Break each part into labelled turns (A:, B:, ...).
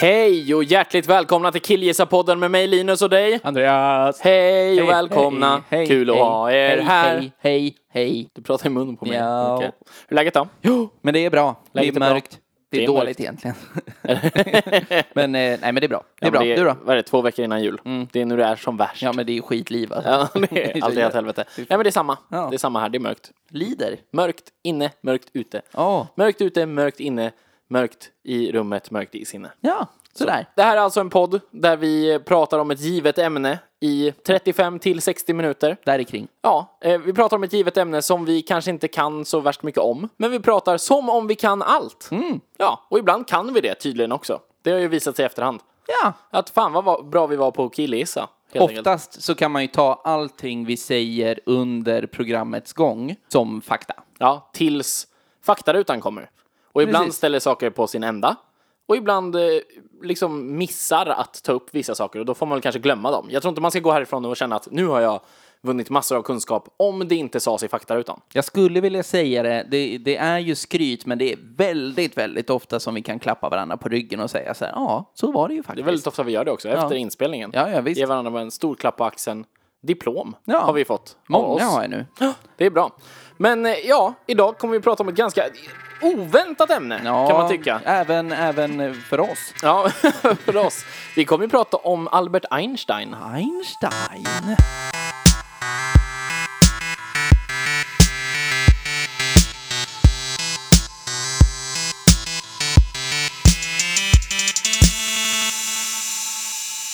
A: Hej och hjärtligt välkomna till Killgissarpodden med mig Linus och dig.
B: Andreas!
A: Hej och välkomna. Kul att ha er här.
B: Hej, hej, hej.
A: Du pratar i munnen på mig.
B: Ja.
A: Okej. Hur är läget då?
B: Jo, men det är bra. Det är
A: Läget är bra.
B: mörkt. Det är,
A: Det är
B: dåligt
A: mörkt.
B: egentligen. men, eh, nej men det är bra. Det är
A: Ja, men
B: bra.
A: Det är,
B: Du då? Mm.
A: Vad är det, två veckor innan jul? Det är nu det är som värst.
B: Ja men det är skitliv alltså.
A: Ja, det är alltid åt helvete. Nej men det är samma.
B: Ja.
A: Det är samma här, det är mörkt.
B: Lider.
A: Mörkt inne, mörkt ute.
B: Ja.
A: Mörkt ute, mörkt inne, mörkt i rummet, mörkt i sinne.
B: Ja, sådär.
A: Det här är alltså en podd där vi pratar om ett givet ämne i 35 till 60 minuter.
B: Där är kring.
A: Ja, eh, vi pratar om ett givet ämne som vi kanske inte kan så värst mycket om. Men vi pratar som om vi kan allt. Ja, och ibland kan vi det tydligen också. Det har ju visat sig i efterhand.
B: Ja.
A: Att fan vad va- bra vi var på att killgissa. helt enkelt.
B: Oftast så kan man ju ta allting vi säger under programmets gång som fakta.
A: Ja, tills faktarutan kommer. Och ibland
B: Precis.
A: ställer saker på sin ända. Och ibland eh, liksom missar att ta upp vissa saker och då får man väl kanske glömma dem. Jag tror inte man ska gå härifrån och känna att nu har jag vunnit massor av kunskap om det inte sades i faktarutan.
B: Jag skulle vilja säga det, det, det är ju skryt, men det är väldigt, väldigt ofta som vi kan klappa varandra på ryggen och säga så här, ja, så var det ju
A: Det är
B: faktiskt.
A: väldigt ofta vi gör det också, efter inspelningen.
B: Ja, ja, visst.
A: Ge varandra en stor klapp på axeln. Diplom
B: Ja.
A: har vi fått av oss.
B: Många har jag nu.
A: Det är bra. Men eh, ja, idag kommer vi prata om ett ganska oväntat ämne, kan man tycka.
B: Även, även för oss.
A: Ja, för oss. Vi kommer ju prata om Albert Einstein.
B: Einstein.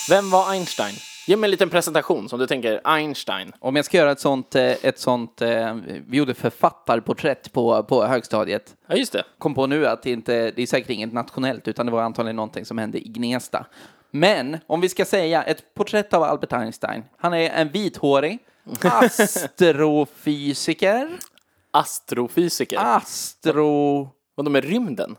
A: Vem var Einstein? Ge mig en liten presentation som du tänker, Einstein.
B: Om jag ska göra ett sånt, eh, ett sånt eh, vi gjorde författarporträtt på, på högstadiet.
A: Ja, just det.
B: kom på nu att det inte, det är säkert inget nationellt, utan det var antagligen någonting som hände i Gnesta. Men om vi ska säga ett porträtt av Albert Einstein. Han är en vithårig astrofysiker.
A: Astrofysiker.
B: Ah. Astro...
A: Och de är rymden.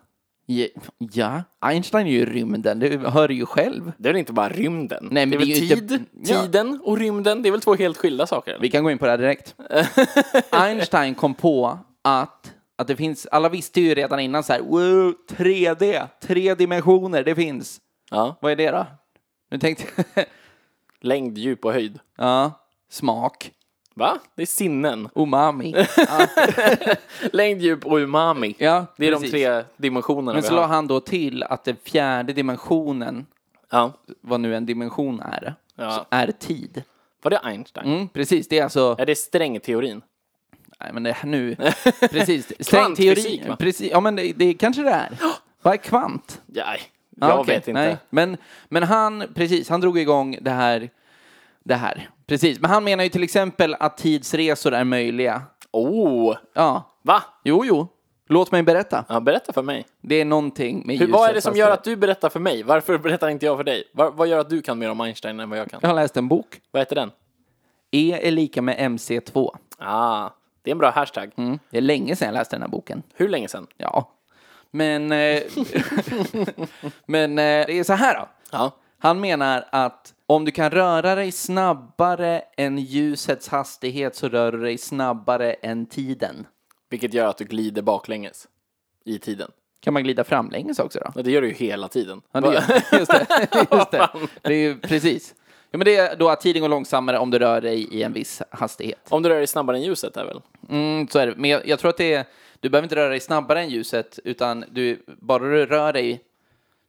B: Ja, Einstein är ju i rymden, det hör du ju själv.
A: Det är väl inte bara rymden?
B: Nej, men
A: det är väl
B: det är ju
A: tid,
B: inte- Ja.
A: tiden och rymden. Det är väl två helt skilda saker?
B: Vi kan gå in på det här direkt. Einstein kom på att, att det finns, alla visste ju redan innan så här, wow, 3D, tre dimensioner, det finns.
A: Ja.
B: Vad är det då? Nu tänkte jag,
A: Längd, djup och höjd.
B: ja, smak.
A: Va? Det är sinnen.
B: Umami.
A: Längd, djup och umami.
B: Ja,
A: det är
B: precis.
A: de tre dimensionerna
B: Men
A: vi
B: så la
A: har.
B: han då till att den fjärde dimensionen,
A: Ja.
B: vad nu en dimension är,
A: Ja.
B: så är tid.
A: Var det Einstein?
B: Mm, precis, det är alltså...
A: Är det strängteorin?
B: Nej, men det här nu... Precis. Sträng teori.
A: Kvantfysik, va?
B: Precis, ja, men det, det kanske det är. Vad är kvant?
A: Nej,
B: Ja,
A: jag
B: okej,
A: vet inte.
B: nej. Men, men han, precis, han drog igång det här. Det här. Precis, men han menar ju till exempel att tidsresor är möjliga.
A: Oh,
B: Ja,
A: va?
B: jo, jo. Låt mig berätta.
A: Ja, berätta för mig.
B: Det är någonting med alltså.
A: Hur, vad är det som
B: ljusets
A: gör
B: hastighet.
A: att du berättar för mig? Varför berättar inte jag för dig? Vad- vad gör att du kan mer om Einstein än vad jag kan?
B: Jag har läst en bok.
A: Vad heter den?
B: E är lika med MC2.
A: Ah, det är en bra hashtag.
B: Det är länge sedan jag läste den här boken.
A: Hur länge sedan?
B: Ja. Men, eh, men eh, det är så här då.
A: Ja.
B: Han menar att om du kan röra dig snabbare än ljusets hastighet så rör du dig snabbare än tiden.
A: Vilket gör att du glider baklänges i tiden.
B: Kan man glida framlänges också då?
A: Och det gör du ju hela tiden.
B: Ja, det gör, just det. Just det. det är ju precis. Ja, men det är då att tiden går långsammare om du rör dig i en viss hastighet.
A: Om du rör dig snabbare än ljuset är väl?
B: Mm, så är det. Men jag, jag tror att det är, du behöver inte röra dig snabbare än ljuset, utan du, bara du rör dig,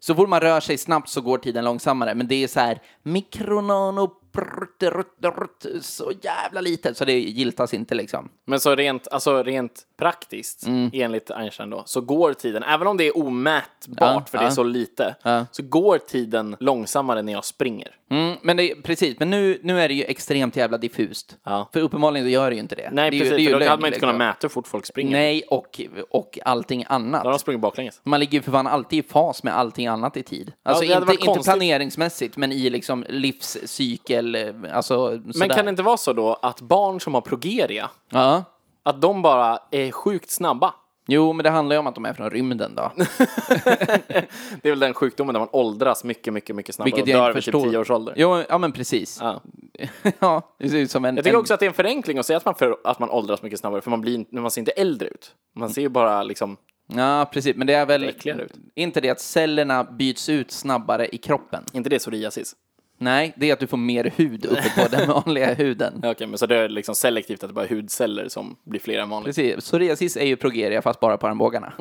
B: så fort man rör sig snabbt så går tiden långsammare. Men det är så här mikronano brrt, brrt, brrt, så jävla liten så det giltas inte liksom.
A: Men så rent, alltså rent praktiskt,
B: Mm.
A: enligt Einstein då, så går tiden, även om det är omätbart
B: Ja,
A: för det är
B: ja.
A: så lite, så går tiden långsammare när jag springer.
B: Mm, men det, precis, men nu, nu är det ju extremt jävla diffust.
A: Ja.
B: För uppenbarligen så gör det ju inte det.
A: Nej,
B: det är ju- det
A: precis,
B: är ju
A: för då
B: lögn,
A: hade man inte
B: liksom.
A: kunnat mäta hur fort folk springer.
B: Nej, och, och allting annat.
A: Då hade de sprungit baklänges.
B: Man ligger ju för fan alltid i fas med allting annat i tid. Alltså
A: det hade varit
B: inte, inte
A: konstigt.
B: planeringsmässigt, men i liksom livscykel, eh, alltså sådär.
A: Men kan det inte vara så då att barn som har progeria,
B: Ja.
A: att de bara är sjukt snabba?
B: Jo, men det handlar ju om att de är från rymden då.
A: Det är väl den sjukdomen där man åldras mycket, mycket, mycket snabbare
B: Vilket
A: och dör
B: jag inte
A: vid typ
B: förstår.
A: 10 års ålder.
B: Jo, ja men precis.
A: Ja.
B: ja, det ser ut som en...
A: Jag tycker
B: en...
A: också att det är en förenkling att säga att man, för, att man åldras mycket snabbare, för man, blir, inte- man ser inte äldre ut. Man ser ju bara liksom,
B: Ja, precis. Men det är väl...
A: äckligare ut.
B: Inte det att cellerna byts ut snabbare i kroppen?
A: inte det är psoriasis.
B: Nej, det är att du får mer hud uppe på den vanliga huden.
A: Ja, Okej, men så det är liksom selektivt att det bara är hudceller som blir fler än vanligt.
B: Precis. Psoriasis är ju progeria fast bara på armbågarna.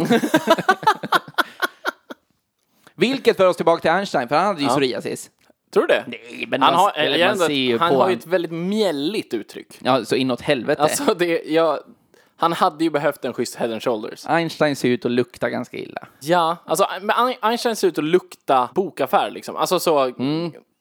B: Vilket för oss tillbaka till Einstein, för han hade ju psoriasis.
A: Tror du det?
B: Nej, men
A: Han
B: man,
A: har,
B: eller
A: jag
B: man
A: ändå,
B: ser ju
A: han
B: på
A: har ju
B: han.
A: ett väldigt mjälligt uttryck.
B: Ja, så inåt helvete.
A: Alltså, det, jag, han hade ju behövt en schysst head and shoulders.
B: Einstein ser ut att lukta ganska illa.
A: Ja, alltså men Ein- Einstein ser ut att lukta bokaffär liksom. Alltså så,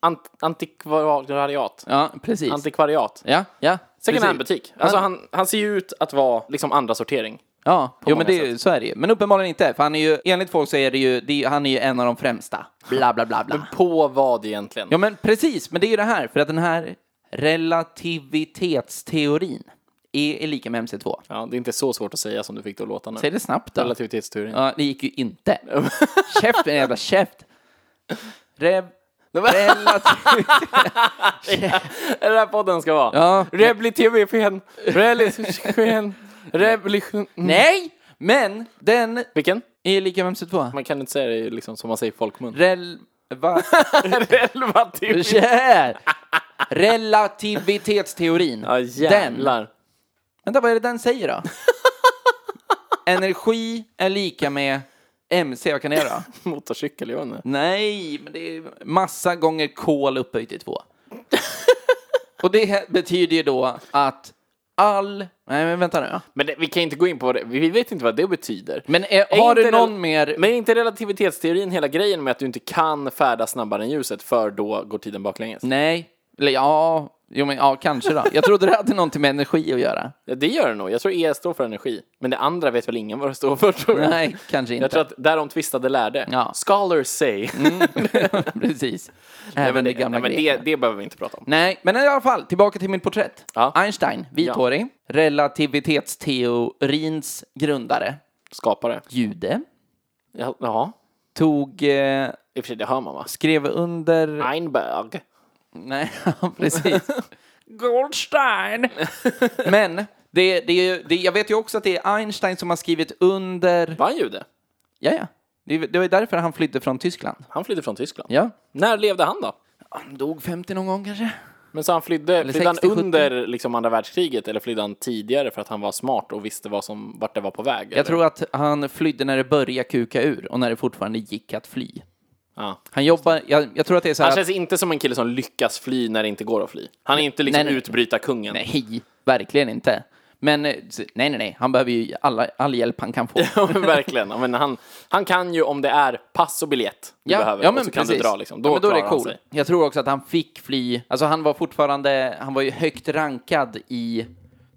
A: ant, antikvariat.
B: Ja, Mm. precis.
A: Antikvariat.
B: ja, ja.
A: Second
B: precis.
A: hand-butik. Alltså han, han ser ju ut att vara liksom andra sortering.
B: Ja, jo, men
A: många
B: det, så är det ju. Men uppenbarligen inte, för han är ju, enligt folk så är det ju, det, är- han är ju en av de främsta. Bla, bla, bla, bla.
A: På vad egentligen?
B: Ja, men precis, men det är ju det här, för att den här relativitetsteorin E är lika med MC2.
A: Ja, det är inte så svårt att säga som du fick det att låta nu.
B: Säg det snabbt då.
A: Relativitetsteorin.
B: Ja, det gick ju inte. Käft, en jävla käft. Rev... Relativ...
A: Är det här podden ska vara?
B: Ja.
A: Reblitivifen. Relitivifen. Reblition.
B: Nej, men den
A: Vilken?
B: E är lika med MC2.
A: Man kan inte säga det liksom som man säger i folkmun.
B: Rel... Va?
A: Relativitet.
B: Kär. Relativitetsteorin.
A: Ja,
B: den
A: jävlar.
B: Vänta, vad är det den säger då? Energi är lika med MC, vad kan det då?
A: Motorcykel, jag vet inte.
B: Nej, men det är massa gånger kol upphöjt till två. Och det här betyder ju då att all... Nej, men vänta nu. ja.
A: Men det, vi kan inte gå in på vad det, vi vet inte vad det betyder.
B: Men eh,
A: Är
B: har du
A: inte
B: någon
A: rel-
B: mer...
A: Men är inte relativitetsteorin hela grejen med att du inte kan färdas snabbare än ljuset för då går tiden baklänges?
B: Nej. Eller ja, jo, men, ja, kanske då. Jag trodde det hade någonting med energi att göra.
A: Ja, det gör det nog. Jag tror E står för energi. Men det andra vet väl ingen vad det står för tror jag.
B: Nej, kanske
A: Jag tror
B: inte.
A: att därom tvistade lärde.
B: Ja. Mm,
A: Scholars say.
B: Precis. Även det gamla
A: Nej, men
B: grekerna.
A: det, det behöver vi inte prata om.
B: Nej, men i alla fall, tillbaka till mitt porträtt.
A: Ja.
B: Einstein, vithårig, relativitetsteorins grundare,
A: Skapare.
B: jude,
A: Ja, jaha.
B: tog, eh,
A: I och för sig, det hör man va?
B: skrev under...
A: Ah. Einberg.
B: Nej, ja, precis. Goldstein! men, det, det, är ju- det, jag vet ju också att det är Einstein som har skrivit under...
A: Var han jude?
B: Ja, ja. Det, det var ju därför han flydde från Tyskland.
A: Han flydde från Tyskland.
B: Ja.
A: När levde han då?
B: Han dog 50 någon gång kanske?
A: Men så han flydde, flydde han
B: 60, 70?
A: under liksom andra världskriget eller flydde han tidigare för att han var smart och visste vad som, vart det var på väg? eller?
B: Jag tror att han flydde när det började kuka ur och när det fortfarande gick att fly.
A: Ja.
B: Han jobbar, jag, jag tror att det är så här
A: Han
B: att-
A: känns inte som en kille som lyckas fly när det inte går att fly. Han är inte liksom
B: Nej, nej.
A: utbrytarkungen.
B: Nej, verkligen inte. Men eh, s- nej, nej, nej, han behöver ju alla, all hjälp han kan få.
A: Ja, men verkligen. Ja, Men han, han kan ju om det är pass och biljett du behöver och så kan du dra liksom. Då,
B: ja, men då är det
A: klarar han
B: cool.
A: sig.
B: Jag tror också att han fick fly. Alltså han var fortfarande, han var ju högt rankad i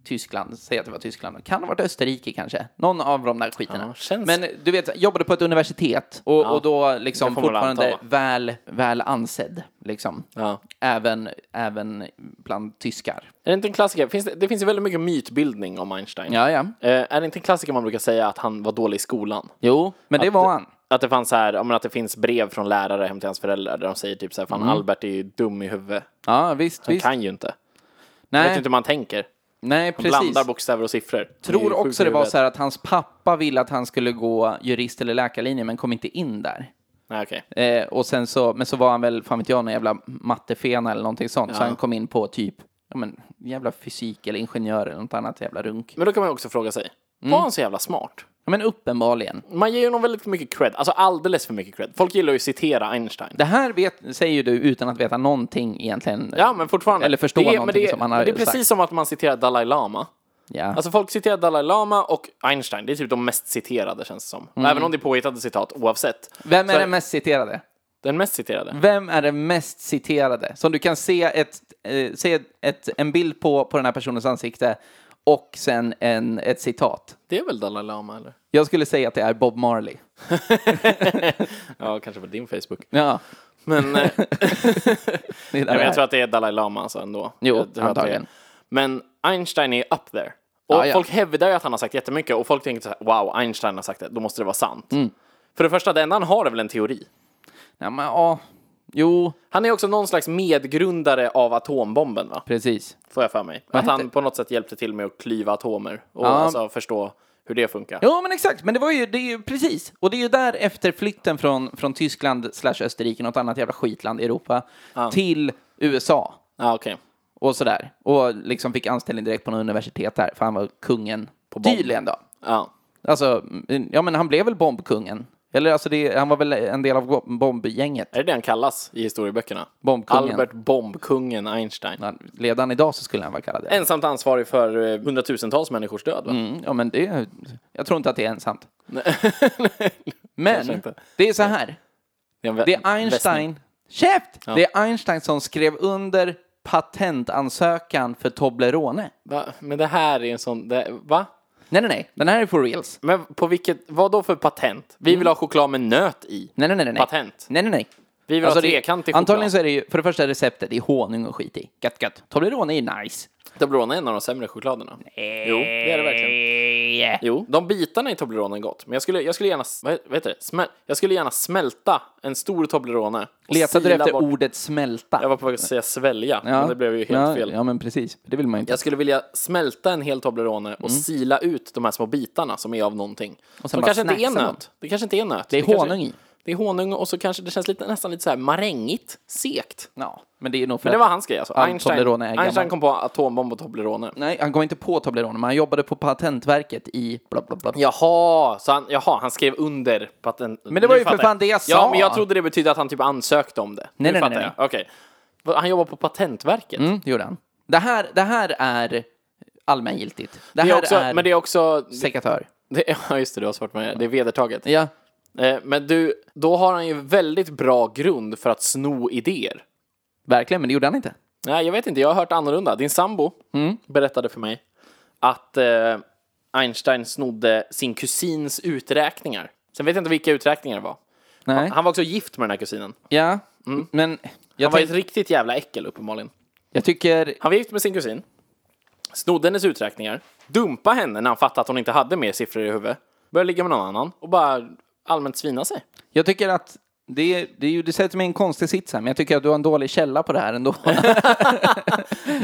B: Tyskland, säg att det var Tyskland, kan ha varit Österrike kanske, någon av de där skiterna.
A: Ja, känns-
B: Men du vet, jobbade på ett universitet och, och då
A: det
B: liksom
A: får man väl
B: fortfarande
A: anta,
B: väl, väl ansedd, liksom.
A: Ja.
B: Även, även bland tyskar.
A: Är det inte en klassiker? Finns det, det finns ju väldigt mycket mytbildning om Einstein.
B: Ja, ja.
A: Eh, är det inte en klassiker man brukar säga att han var dålig i skolan?
B: Jo, men det var han.
A: Att det fanns så här, ja, men att det finns brev från lärare hem till hans föräldrar där de säger typ så här, fan Albert är ju dum i huvudet.
B: Ja, visst,
A: Han
B: Mm. visst.
A: kan ju inte. Jag vet
B: Nej.
A: inte hur man tänker.
B: Nej, precis.
A: Blandar bokstäver och siffror. Han är ju
B: tror
A: sjuk i
B: också det var
A: huvudet.
B: så här att hans pappa ville att han skulle gå jurist eller läkarlinjen men kom inte in där.
A: Nej, okej.
B: Eh, och sen så, men så var han väl, fan vet jag, någon jävla mattefena eller någonting sånt. Så han kom in på typ, ja men, jävla fysik eller ingenjör eller något annat jävla runk. Mm.
A: Men då kan man ju också fråga sig, var han så jävla smart?
B: Ja, Men uppenbarligen.
A: Man ger ju honom väldigt mycket cred, alltså alldeles för mycket cred. Folk gillar ju att citera Einstein.
B: Det här vet, säger ju du utan att veta någonting egentligen.
A: Ja, men fortfarande.
B: Eller förstå
A: det, men
B: någonting
A: det,
B: som han har
A: Det är precis
B: sagt.
A: som att man citerar Dalai Lama.
B: Ja.
A: Alltså folk citerar Dalai Lama och Einstein, det är typ de mest citerade känns det som.
B: Mm.
A: Även om det är påhittade citat, oavsett.
B: Vem är
A: Så-
B: den mest citerade?
A: Den mest citerade?
B: Vem är den mest citerade? Som du kan se, ett, eh, se ett, en bild på, på den här personens ansikte och sen en, ett citat.
A: Det är väl Dalai Lama eller?
B: Jag skulle säga att det är Bob Marley.
A: Ja, kanske på din Facebook.
B: Ja,
A: Men, eh,
B: det är där
A: men
B: det
A: jag
B: är.
A: tror att det är Dalai Lama alltså ändå.
B: Jo,
A: jag tror att det är-
B: antagligen.
A: Men Einstein är up there. Och
B: Ja, ja.
A: folk hävdar ju att han har sagt jättemycket och folk tänker så här, wow, Einstein har sagt det, då måste det vara sant.
B: Mm.
A: För det första, det enda han har är väl en teori.
B: Ja, men, ja. Jo,
A: Han är också någon slags medgrundare av atombomben, va?
B: precis.
A: Får jag för mig. att han på något sätt hjälpte till med att klyva atomer och alltså förstå hur det funkar.
B: Jo, men exakt. Men det var ju, det är ju precis. Och det är ju där efter flytten från, från Tyskland slash Österrike, något annat jävla skitland i Europa, till USA.
A: Ja, okej.
B: och sådär. Och liksom fick anställning direkt på något universitet där, för han var kungen. På
A: bomb.
B: Tydligen då.
A: Ja.
B: Alltså, mm, ja men han blev väl bombkungen. Eller alltså, det, han var väl en del av go- bombgänget.
A: Är det det han kallas i historieböckerna?
B: Bombkungen.
A: Albert Bombkungen Einstein.
B: Han- Redan idag så skulle han vara kallad det.
A: Ensamt ansvarig för eh, hundratusentals människors död, va?
B: Mm, ja men det, jag tror inte att det är ensamt. men, det är så här.
A: Det är, en vä-
B: Det är
A: västning.
B: Einstein. Käft! Det är Einstein som skrev under patentansökan för Toblerone.
A: Va? Men det här är en sån... Det, va?
B: Nej, nej, nej. Den här är for reals.
A: Men på vilket... Vad då för patent? Vi vill ha choklad med nöt i.
B: Mm. Nej, nej, nej. nej.
A: Patent.
B: Nej, nej, nej.
A: Vi vill ha
B: Alltså, det-
A: trekantig
B: Antagligen så
A: choklad.
B: är det ju, för det första receptet, det är honung och skit i. Gött, gött. Toblerone är ju nice.
A: Toblerone är en av de sämre chokladerna. Jo, det är det verkligen.
B: Yeah.
A: Jo, de bitarna i Toblerone är gott. Men jag skulle, jag skulle gärna... s- Vad he- vad heter det? Smäl, jag skulle gärna smälta en stor Toblerone. och
B: Letade du
A: sila
B: efter
A: bort-
B: ordet smälta?
A: Jag var på väg att säga svälja, men det blev ju helt
B: ja,
A: fel.
B: Ja, men precis. Det vill man ju inte.
A: Jag skulle vilja smälta en hel Toblerone och sila ut de här små bitarna som är av någonting. Och
B: Mm. sen
A: som
B: bara
A: kanske inte är
B: snacksa dem.
A: nöt. Det kanske inte är nöt.
B: Det är
A: kanske-
B: honung i.
A: Det är honung och så kanske det känns lite, nästan lite så här marängigt, sekt.
B: Ja, men det är nog för
A: Men det
B: att-
A: var hans grej alltså.
B: All
A: Einstein,
B: Toblerone är gammal.
A: Einstein kom på atombomb och Toblerone.
B: Nej, han kom inte på Toblerone, men han jobbade på Patentverket i bla, bla, bla.
A: Jaha, så han, jaha, han skrev under patent...
B: Men det var
A: Nu
B: ju för
A: fattar
B: fan det jag sa.
A: Ja, men jag trodde det betydde att han typ ansökte om det.
B: Nej,
A: nu
B: nej,
A: fattar
B: nej,
A: jag. Okej. Va, Han jobbar på Patentverket.
B: Mm, det gjorde han. Det här, det här är allmängiltigt. Det här
A: Det är också,
B: är,
A: Men det är också...
B: sekatör.
A: Det, ja, just det, du har svårt med det. Det är vedertaget.
B: Ja.
A: Eh, Men du, då har han ju väldigt bra grund för att sno idéer.
B: Verkligen, men det gjorde han inte.
A: Nej, jag vet inte, jag har hört annorlunda. Din sambo berättade för mig att eh, Einstein snodde sin kusins uträkningar. Sen vet jag inte vilka uträkningar det var.
B: Nej.
A: Han var också gift med den här kusinen.
B: Ja, men jag,
A: Mm. Han var
B: tänk,
A: ett riktigt jävla äckel uppenbarligen.
B: jag tycker...
A: Han var gift med sin kusin, snodde hennes uträkningar, dumpa henne när han fattade att hon inte hade mer siffror i huvudet, började ligga med någon annan och bara allmänt svina sig.
B: Jag tycker att det, det, är ju, det sätter mig i en konstig sits här, men jag tycker att du har en dålig källa på det här ändå.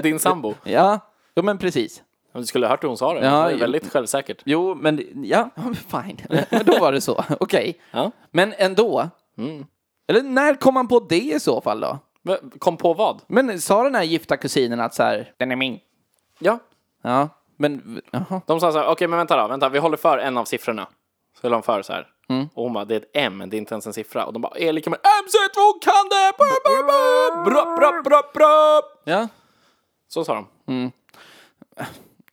A: Din sambo.
B: ja, jo, men precis.
A: Du skulle ha hört hur hon sa det.
B: Ja,
A: Ja, det är
B: jo.
A: väldigt självsäkert.
B: Jo, men ja, fine. men då var det så, okej.
A: Ja.
B: Men ändå. Mm. Eller när kom man på det i så fall då?
A: Men Kom på vad?
B: Men sa den här gifta kusinen att så här, den är min?
A: Ja.
B: Ja, men jaha.
A: De sa så här, okej men vänta då, vänta, vi håller för en av siffrorna. Så höll de för så här.
B: Mm.
A: Och hon bara, det är ett M, det är inte ens en siffra. Och de bara, är lika med MC2 kan det! Bra, bra, bra, bra, bra, bra, bra.
B: Ja,
A: Så sa de.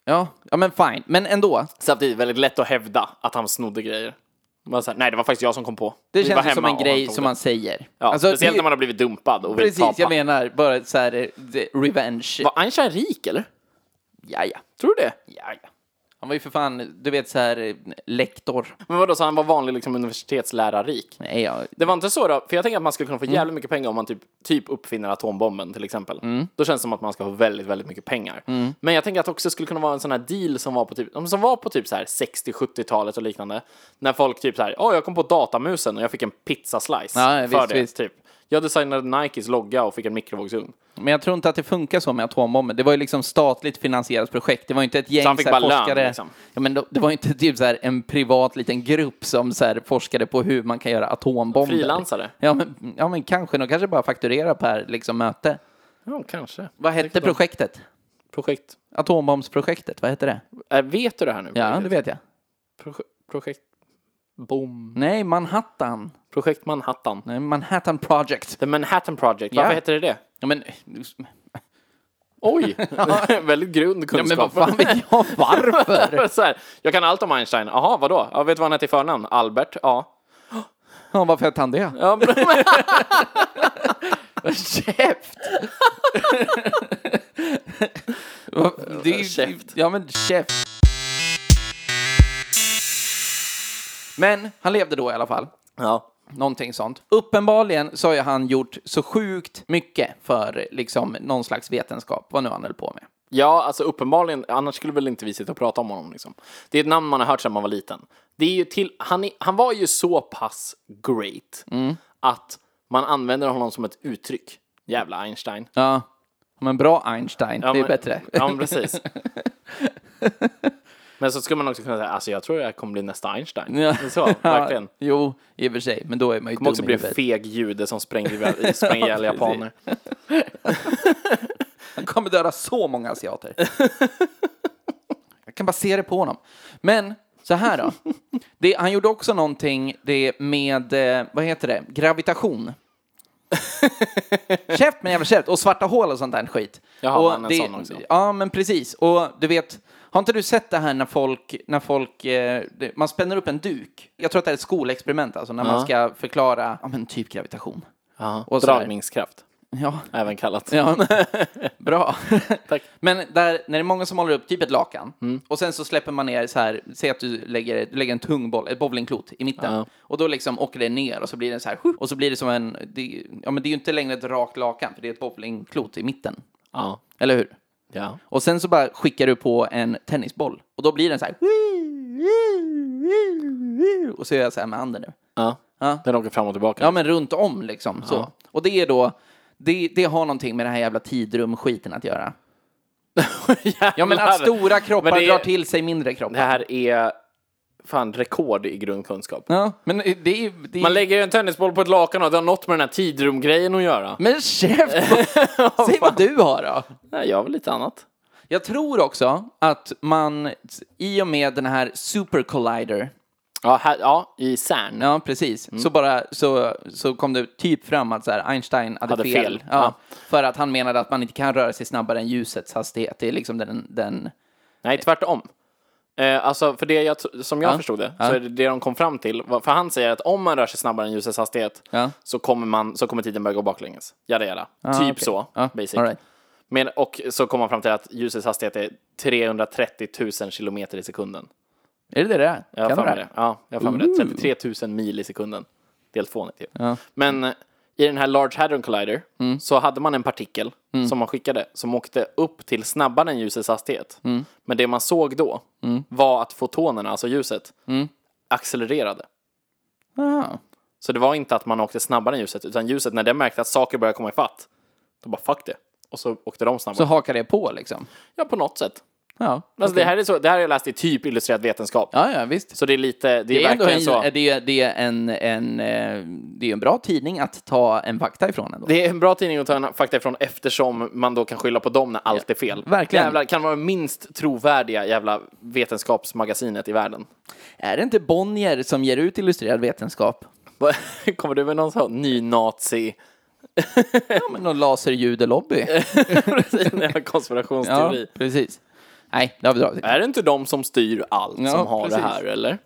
B: ja, ja, men fine. Men ändå.
A: Samtidigt väldigt lätt att hävda att han snodde grejer. Man så här, Nej, det var faktiskt jag som kom på.
B: Det
A: Vi var
B: känns ju
A: hemma
B: som en
A: och han
B: grej
A: tog
B: som
A: det."
B: man säger.
A: Ja,
B: Alltså,
A: speciellt
B: det-
A: när man har blivit dumpad och vill
B: Precis,
A: tapa.
B: jag menar bara så här, eh, the revenge.
A: Var Einstein rik eller?
B: Ja, ja.
A: Tror du det?
B: Ja, ja. Han var ju för fan, du vet så här, eh, lektor.
A: Men vadå, så han var vanlig liksom universitetslärarrik?
B: Nej, jag...
A: Det var inte så då? För jag tänker att man skulle
B: Mm.
A: kunna få jävligt mycket pengar om man typ, typ uppfinner atombomben till exempel.
B: Mm.
A: Då känns det som att man ska ha väldigt, väldigt mycket pengar. Men jag tänker att det också skulle kunna vara en sån här deal som var på typ, som var på typ så här 60-70-talet och liknande. När folk typ så här, åh jag kom på datamusen och jag fick en pizzaslice
B: Ja,
A: för
B: visst,
A: det.
B: visst.
A: Typ. Jag designade Nikes logga och fick en mikrovågsugn.
B: Men jag tror inte att det funkar så med atombomben. Det var ju liksom statligt finansierat projekt. Det var ju inte ett gäng
A: Så han fick
B: så här
A: bara lön,
B: forskare.
A: liksom.
B: ja, men då- det var ju inte typ så här en privat liten grupp som så här forskade på hur man kan göra atombomber.
A: Frilansare?
B: Ja men, ja, men kanske. De kanske bara fakturerar per liksom, möte.
A: Ja, kanske.
B: Vad hette projektet?
A: Projekt.
B: Atombombsprojektet, vad hette det?
A: Äh, vet du det här nu?
B: Ja, det vet jag.
A: Proje- Projekt Bom.
B: Nej, Manhattan.
A: Projekt Manhattan.
B: Nej, Manhattan Project.
A: The Manhattan Project.
B: Ja.
A: Varför heter det det?
B: Ja, men,
A: Oj! Väldigt grund
B: ja, men vad
A: kunskap.
B: fan vet jag varför?
A: så här, jag kan allt om Einstein. Jaha, vadå? Ja, vet du vad han heter i förnamn? Albert? Ja.
B: ja, varför hette han det?
A: ja men,
B: Käft! det är,
A: Käft.
B: Ja, men käft. Men han levde då i alla fall.
A: ja.
B: Någonting sånt. Uppenbarligen så har ju han gjort så sjukt mycket för liksom någon slags vetenskap, vad nu han höll på med.
A: ja, alltså uppenbarligen. Annars skulle väl inte vi sitta och prata om honom. Liksom. Det är ett namn man har hört sedan man var liten. Det är ju till, han, är, han var ju så pass great
B: Mm.
A: att man använder honom som ett uttryck. Jävla Einstein.
B: Ja, men bra Einstein, det är
A: men-
B: bättre.
A: Ja, men precis. men så skulle man också kunna säga, alltså jag tror jag kommer bli nästa Einstein.
B: Ja.
A: Så, verkligen.
B: Jo, i och för sig, men då är man ju
A: Kommer också
B: dum i
A: bli en
B: huvudet.
A: feg jude som spränger ihjäl- spränger ihjäl
B: Ja,
A: japaner.
B: Han kommer döda så många asiater. Jag kan bara se det på honom. Men så här då. Det, han gjorde också någonting det med, eh, vad heter det, gravitation. käft med jävla käft och svarta hål och sånt där skit.
A: Jaha,
B: och
A: han är en sån också.
B: Ja, men precis. Och du vet, har inte du sett det här när folk, när folk, eh, det- man spänner upp en duk. Jag tror att det är ett skolexperiment, alltså när man ska förklara, ja men typ gravitation.
A: Och
B: Och så här.
A: Dragningskraft,
B: Ja,
A: även kallat.
B: Ja, bra.
A: Tack.
B: Men där, när det är många som håller upp typ ett lakan och sen så släpper man ner så här, säg att du lägger, du lägger en tung boll, ett bowlingklot i mitten
A: Ja.
B: och då liksom åker det ner och så blir det så här och så blir det som en, det, ja men det är ju inte längre ett rakt lakan för det är ett bowlingklot i mitten,
A: Ja.
B: eller hur?
A: ja.
B: Och sen så bara skickar du på en tennisboll och då blir den så här och så gör jag så här med handen nu.
A: ja.
B: Ja.
A: Den åker fram och tillbaka.
B: Ja, men runt om liksom. Så. Och det är då, det, det har någonting med den här jävla tidrumskiten att göra. Ja, men att stora kroppar
A: Men det är-
B: drar till sig mindre
A: Det
B: kroppar.
A: här är fan rekord i grundkunskap.
B: Ja, men det är... Det är...
A: Man lägger ju en tennisboll på ett lakan och det har något med den här tidrumgrejen att göra.
B: Men chef! Säg vad du har då!
A: Nej, jag har väl lite annat.
B: Jag tror också att man, i och med den här super collider,
A: Ja, här, ja i CERN.
B: ja precis, så bara så, så kom det typ fram att så här, Einstein hade,
A: Hade
B: fel.
A: fel.
B: Ja, För att han menade att man inte kan röra sig snabbare än ljusets hastighet. Det är liksom den... den
A: Nej, tvärtom. Eh, alltså, för det jag, tr- som jag
B: Ja.
A: förstod det,
B: Ja.
A: så är det det de kom fram till. var- För han säger att om man rör sig snabbare än ljusets hastighet
B: Ja.
A: så, kommer man, så kommer tiden börja gå baklänges. Jada, jada. typ
B: okej.
A: så,
B: Ja,
A: basic.
B: all right.
A: Men, och så kom man fram till att ljusets hastighet är 330 000 kilometer i sekunden.
B: Är det det det är?
A: Jag har
B: Kan
A: för
B: vara
A: mig det. Ja, jag har för mig det. 33 000 mil i sekunden. Det är helt fånigt ju. Men eh, i den här Large Hadron Collider
B: Mm.
A: så hade man en partikel som man skickade som åkte upp till snabbare än ljusets hastighet.
B: Mm.
A: Men det man såg då var att fotonerna, alltså ljuset,
B: Mm.
A: accelererade.
B: Ah.
A: Så det var inte att man åkte snabbare än ljuset, utan ljuset, när det märkte att saker började komma ifatt, då bara fuck det. Och så åkte de snabbare.
B: Så hakar det på liksom?
A: Ja, på något sätt.
B: Ja,
A: Alltså, det, här är så, det här har jag läst i typ illustrerad vetenskap.
B: ja, ja visst.
A: Så det är lite, det är,
B: Det är, ändå
A: verkligen så.
B: en, det är, det är en, en, eh, det är en bra tidning att ta en fakta ifrån ändå.
A: Det är en bra tidning att ta en fakta ifrån eftersom man då kan skylla på dem när allt är fel.
B: verkligen.
A: Jävlar, kan vara det minst trovärdiga jävla vetenskapsmagasinet i världen.
B: Är det inte Bonnier som ger ut illustrerad vetenskap?
A: Vad- Kommer du med någon sån ny nazi
B: Ja, men någon laserjudelobby.
A: jävla
B: Ja,
A: konspirationsteori?
B: precis. Nej, det har vi dragit.
A: Är det inte de som styr allt
B: Ja,
A: som har
B: precis.
A: det här, eller?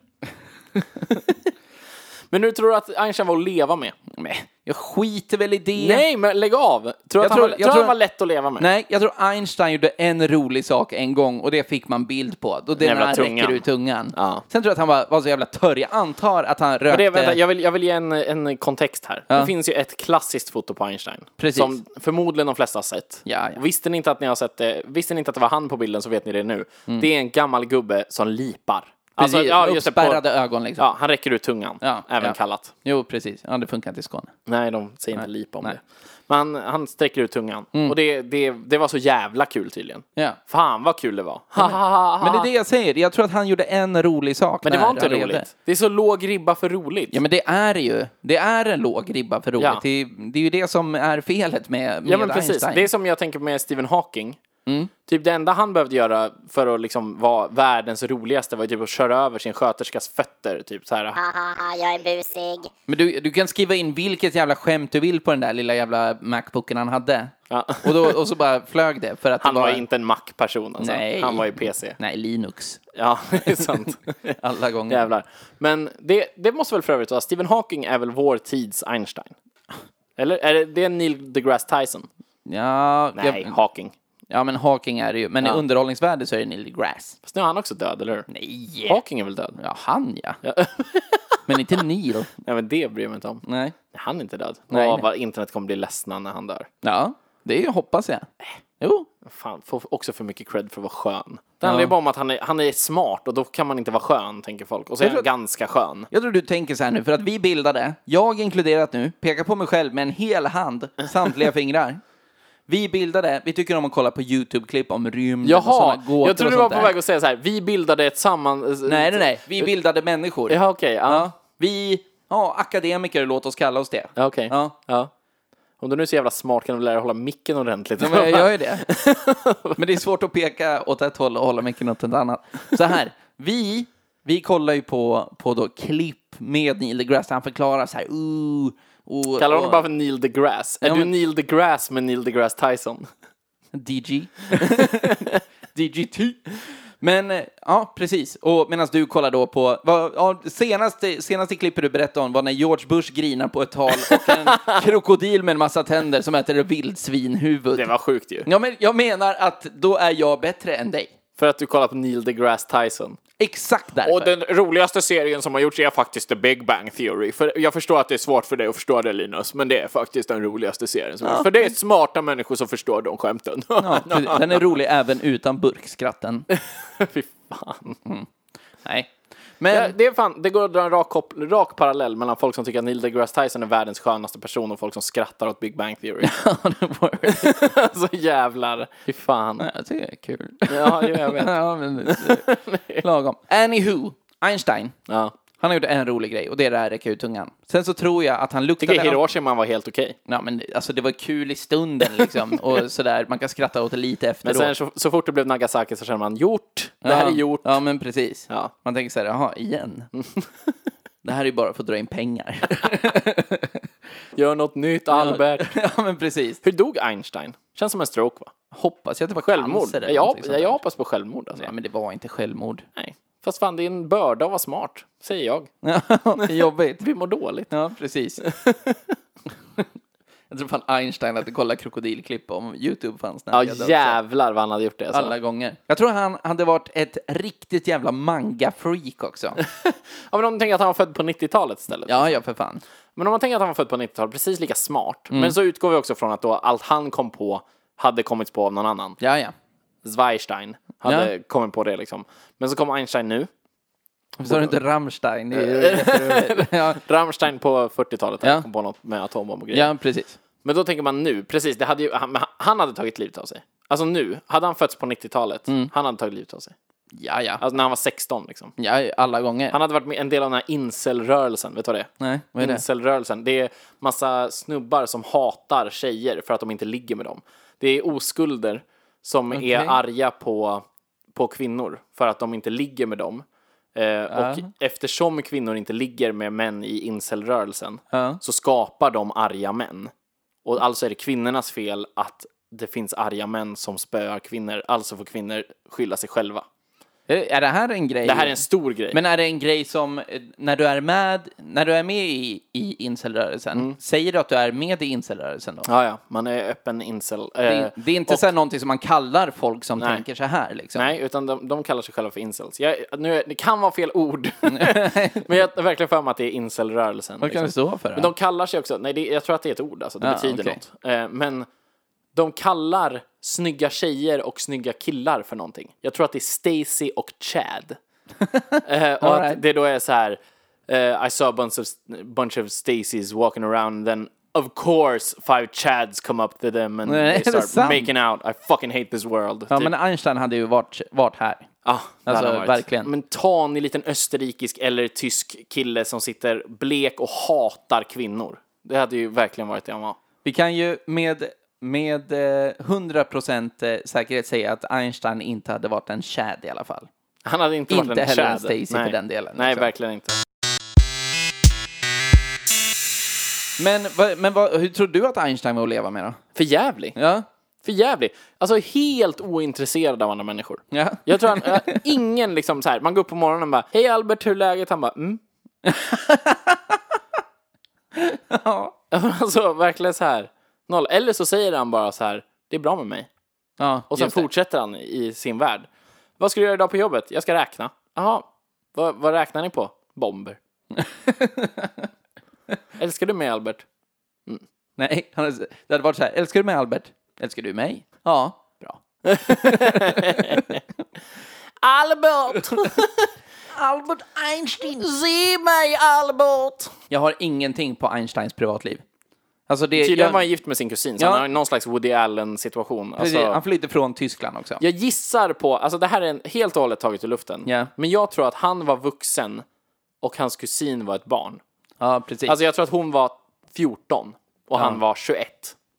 A: men nu tror du att Einstein var att leva med?
B: Nej, Jag skiter väl i det.
A: Nej, men lägg av! Tror du att han,
B: tror-
A: var,
B: jag
A: tror han
B: tror-
A: var lätt att leva med?
B: Nej, jag tror Einstein gjorde en rolig sak en gång och det fick man bild på. Då det är när
A: Jävla
B: han räcker
A: tungan.
B: ut tungan.
A: Ja.
B: Sen tror jag att han var, var så jävla törr. Jag antar att eh, han rökte...
A: Men det, vänta, jag, vill, jag vill ge en, en kontext här. Det finns ju ett klassiskt foto på Einstein.
B: Precis.
A: Som förmodligen de flesta har sett.
B: Ja, ja.
A: Visste, ni inte att ni har sett det, visste ni inte att det var han på bilden så vet ni det nu. Det är en gammal gubbe som lipar.
B: Mm.
A: Alltså,
B: Precis, med
A: just det, på-
B: uppspärrade ögon liksom.
A: Ja, han räcker ut tungan.
B: Ja,
A: även
B: ja.
A: kallat.
B: Jo, precis. Ja, det funkar inte i Skåne.
A: Nej, de säger inte lipa om det. Men han, han sträcker ut tungan.
B: Mm.
A: Och det, det, det var så jävla kul tydligen.
B: Ja.
A: Fan vad kul det var. Ha, ha, ha, ha.
B: Men det är det jag säger. Jag tror att han gjorde en rolig sak.
A: Men det
B: när
A: var inte
B: han levde.
A: roligt. Det är så låg ribba för roligt.
B: Ja, men det är det ju. Det är en låg ribba för roligt.
A: Ja.
B: Det, är- det är ju det som är felet med, med
A: Ja men precis,
B: Einstein.
A: det är som jag tänker med Stephen Hawking. Typ det enda han behövde göra för att liksom vara världens roligaste var ju typ att köra över sin sköterskas fötter. Typ så här.
C: Hahaha, jag är busig.
B: Men du, du kan skriva in vilket jävla skämt du vill på den där lilla jävla Macbooken han hade.
A: Ja.
B: Och, då, och så bara flög det. För att
A: Han
B: det
A: var
B: var
A: ju inte en Mac-person alltså.
B: Nej.
A: Han var ju PC.
B: Nej, Linux.
A: Ja, det är sant.
B: Alla gånger.
A: Jävlar. Men det, det måste väl för övrigt vara, Stephen Hawking är väl vår tids Einstein? Eller är det, det är Neil deGrasse Tyson?
B: Ja,
A: Nej,
B: jag,
A: Hawking.
B: ja, men Hawking är det ju. Men i
A: Ja.
B: underhållningsvärlden så är det Neil Grass.
A: Fast nu är han också död, eller hur?
B: Nej.
A: Hawking är väl död?
B: Ja, han ja. men inte Neil.
A: Nej, men det bryr jag mig inte om.
B: Nej.
A: Han är inte död.
B: Nej,
A: Åh,
B: nej.
A: vad internet kommer bli ledsna när han dör.
B: Ja, det är, hoppas jag.
A: Äh.
B: Jo.
A: Fan, får också för mycket cred för att vara skön. Det handlar ju bara om att han är, han är smart och då kan man inte vara skön, tänker folk. Och så är
B: Jag
A: han
B: tror-
A: ganska skön.
B: Jag tror du tänker så här nu, för att vi bildade, jag inkluderat nu, pekar på mig själv med en hel hand, samtliga fingrar. Vi bildade, vi tycker om att kolla på YouTube-klipp om rymden och
A: Jaha,
B: sådana gåtor
A: jag trodde
B: och
A: du var
B: sånt
A: på
B: där.
A: väg att säga så här, vi bildade ett samman...
B: Nej, nej, nej. Vi bildade människor.
A: Eh, Ja, okej. ja.
B: Ja. Vi, ja, akademiker, låt oss kalla oss det.
A: Ja, Okej.
B: Ja.
A: Ja. Om du nu är så jävla smart kan du väl lära dig hålla micken ordentligt?
B: Ja, men jag gör ju det. Men det är svårt att peka åt ett håll och hålla micken åt ett annat. Så här, vi, vi kollar ju på, på då klipp med Neil deGrasse där han förklarar så här, uh, och,
A: Kallar honom
B: och-
A: bara för Neil deGrasse. Är
B: Ja,
A: du
B: men-
A: Neil deGrasse med Neil deGrasse Tyson?
B: DG. DGT. Men eh, ja, precis. Och medan du kollar då på, vad, ja, senaste, senaste klippet du berättade om var när George Bush grinar på ett tal och en krokodil med en massa tänder som äter ett vildsvinhuvud.
A: Det var sjukt ju.
B: Ja, men jag menar att då är jag bättre än dig.
A: För att du kollar på Neil deGrasse Tyson.
B: Exakt därför.
A: Och den roligaste serien som har gjorts är faktiskt The Big Bang Theory. För jag förstår att det är svårt för dig att förstå det Linus, men det är faktiskt den roligaste serien som gjorts. För det är smarta människor som förstår de skämten.
B: Ja, precis. den är rolig även utan burkskratten.
A: Fy fan.
B: Nej.
A: Ja,
B: Men
A: Det, är fan, det går att dra en rak, kopp, rak parallell mellan folk som tycker att Neil deGrasse Tyson är världens skönaste person och folk som skrattar åt Big Bang Theory. alltså jävlar. Fy fan.
B: jag tycker det är kul.
A: Ja, jo, jag vet.
B: ja, men det är lagom. Anywho, Einstein.
A: Ja.
B: Han har gjort en rolig grej och det är det här räcka ut tungan. Sen så tror jag att han
A: Jag tycker
B: luktade...
A: Hiroshima var helt okej.
B: Ja, men alltså det var kul i stunden liksom och sådär. Man kan skratta åt det lite
A: Men
B: efteråt.
A: sen så, så fort det blev Nagasaki så känner man gjort, det här är
B: Ja.
A: gjort.
B: Ja, men precis.
A: Ja.
B: Man tänker så här, jaha, igen. det här är ju bara för att dra in pengar.
A: Gör något nytt Albert.
B: ja, men precis.
A: Hur dog Einstein? Känns som en stroke va?
B: Hoppas jag att det var
A: Självmord?
B: cancer eller
A: Jag,
B: någonting sånt
A: jag,
B: där.
A: jag hoppas på självmord alltså.
B: Nej, men det var inte självmord.
A: Nej. Fast fan det är en börda att vara smart, säger jag.
B: Jobbigt.
A: Vi mår dåligt.
B: Ja, precis. jag tror fan Einstein hade kollat krokodilklipp om YouTube fanns när
A: Ja
B: han levde också.
A: jävlar vad han hade gjort det alltså.
B: Alla gånger. Jag tror han hade varit ett riktigt jävla manga-freak också.
A: Ja, men om man tänker att han var född på 90-talet istället.
B: Ja, ja, för fan.
A: Men om man tänker att han var född på 90-talet, precis lika smart.
B: Mm.
A: Men så utgår vi också från att då allt han kom på hade kommits på av någon annan.
B: Ja, ja.
A: Zweistein hade kommit på det liksom. Men så kom Einstein nu.
B: Så har du inte Rammstein. Det är- ja.
A: Rammstein på 40-talet
B: Ja.
A: kom på något med atombomb och grejer.
B: ja, precis.
A: Men då tänker man nu, precis, det hade ju, han, men han hade tagit livet av sig. Alltså nu, hade han fötts på 90-talet, han hade tagit livet av sig.
B: Ja, ja.
A: Alltså när han var 16 liksom.
B: ja ja, alla gånger.
A: Han hade varit med en del av den här incelrörelsen, vet du vad det är?
B: Nej, vad är det?
A: Incelrörelsen, det är massa snubbar som hatar tjejer för att de inte ligger med dem. Det är oskulder som
B: Okej.
A: är arga på, på kvinnor för att de inte ligger med dem. Eh, Och eftersom kvinnor inte ligger med män i incelrörelsen
B: Ja.
A: så skapar de arga män. Och alltså är det kvinnornas fel att det finns arga män som spöar kvinnor, alltså får kvinnor skylla sig själva.
B: Är det- Är det här en grej?
A: Det här är en stor grej.
B: Men är det en grej som, eh, när du är med, när du är med i, i incelrörelsen, säger du att du är med i incelrörelsen då?
A: Ja, ja, man är öppen incel.
B: Det,
A: Eh,
B: är- det är inte så här någonting som man kallar folk som
A: Nej.
B: tänker så här liksom.
A: Nej, utan de, de kallar sig själva för incels. Jag, nu, är- det kan vara fel ord, men jag har verkligen för mig att det är incelrörelsen.
B: Vad kan det
A: liksom.
B: stå för?
A: Men de kallar sig också, nej det, jag tror att det är ett ord alltså, det
B: Ja,
A: betyder
B: okej.
A: något. Eh, men de kallar snygga tjejer och snygga killar för någonting. Jag tror att det är Stacy och Chad. Eh, och att
B: right.
A: det då är så här, eh, I saw a bunch of, bunch of Stacys walking around then of course five Chads come up to them and
B: Nej, är
A: they
B: det
A: start
B: sant?
A: making out, I fucking hate this world.
B: ja,
A: typ.
B: men Einstein hade ju varit, varit här.
A: Ja, där
B: Alltså,
A: har han varit.
B: verkligen.
A: Men ta en liten österrikisk eller tysk kille som sitter blek och hatar kvinnor. Det hade ju verkligen varit det han var.
B: Vi kan ju med med eh, 100% eh, säkerhet säga att Einstein inte hade varit en chad i alla fall.
A: Han hade inte, varit
B: Inte
A: en
B: heller en
A: tjäder.
B: Stacy för
A: Nej.
B: den delen,
A: Nej,
B: liksom.
A: verkligen inte.
B: Men, vad- men vad, hur tror du att Einstein var att leva med då?
A: För jävlig.
B: Ja?
A: För jävlig. Alltså helt ointresserad av andra människor.
B: Ja?
A: Jag tror han, jag- ingen liksom så här, man går upp på morgonen och bara Hej Albert, hur är läget? Han bara mm.
B: Ja.
A: Alltså verkligen så här, noll. Eller så säger han bara så här, det är bra med mig.
B: ja
A: Och sen
B: just det.
A: fortsätter han i sin värld. Vad ska du göra idag på jobbet? Jag ska räkna. Jaha, vad, vad räknar ni på? Bomber. Älskar du mig Albert?
B: Nej, han hade, det hade varit så här. Älskar du mig Albert? Älskar du mig? Ja. Bra.
A: Albert!
B: Albert Einstein!
A: Se mig Albert!
B: Jag har ingenting på Einsteins privatliv. Alltså det...
A: Tydligen
B: jag,
A: var han gift med sin kusin, så
B: Ja.
A: han har någon slags Woody Allen-situation.
B: precis,
A: Alltså,
B: han flydde från Tyskland också.
A: Jag gissar på, alltså det här är en, helt och hållet taget ur luften,
B: Ja.
A: men jag tror att han var vuxen och hans kusin var ett barn.
B: Ja, precis.
A: Alltså jag tror att hon var 14 och han var 21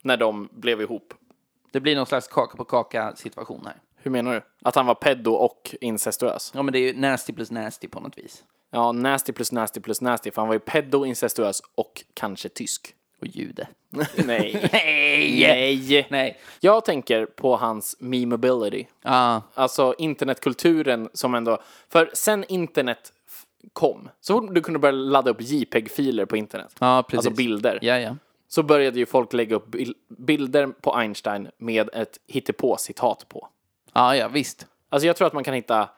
A: när de blev ihop.
B: det blir någon slags kaka på kaka situation här.
A: Hur menar du? Att han var peddo och incestuös?
B: Ja, men det är ju nasty plus nasty på något vis.
A: Ja, nasty plus nasty plus nasty, för han var ju peddo, incestuös och kanske tysk.
B: Och jude.
A: Nej.
B: Nej!
A: Nej!
B: Nej.
A: Jag tänker på hans memeability.
B: Ja,
A: Alltså internetkulturen som ändå... För sen internet f- kom, så fort du kunde börja ladda upp JPEG-filer på internet,
B: ja precis.
A: alltså bilder,
B: Ja, ja.
A: så började ju folk lägga upp bil- bilder på Einstein med ett hittepå-citat på.
B: Ah, Ja, ja, visst.
A: Alltså jag tror att man kan hitta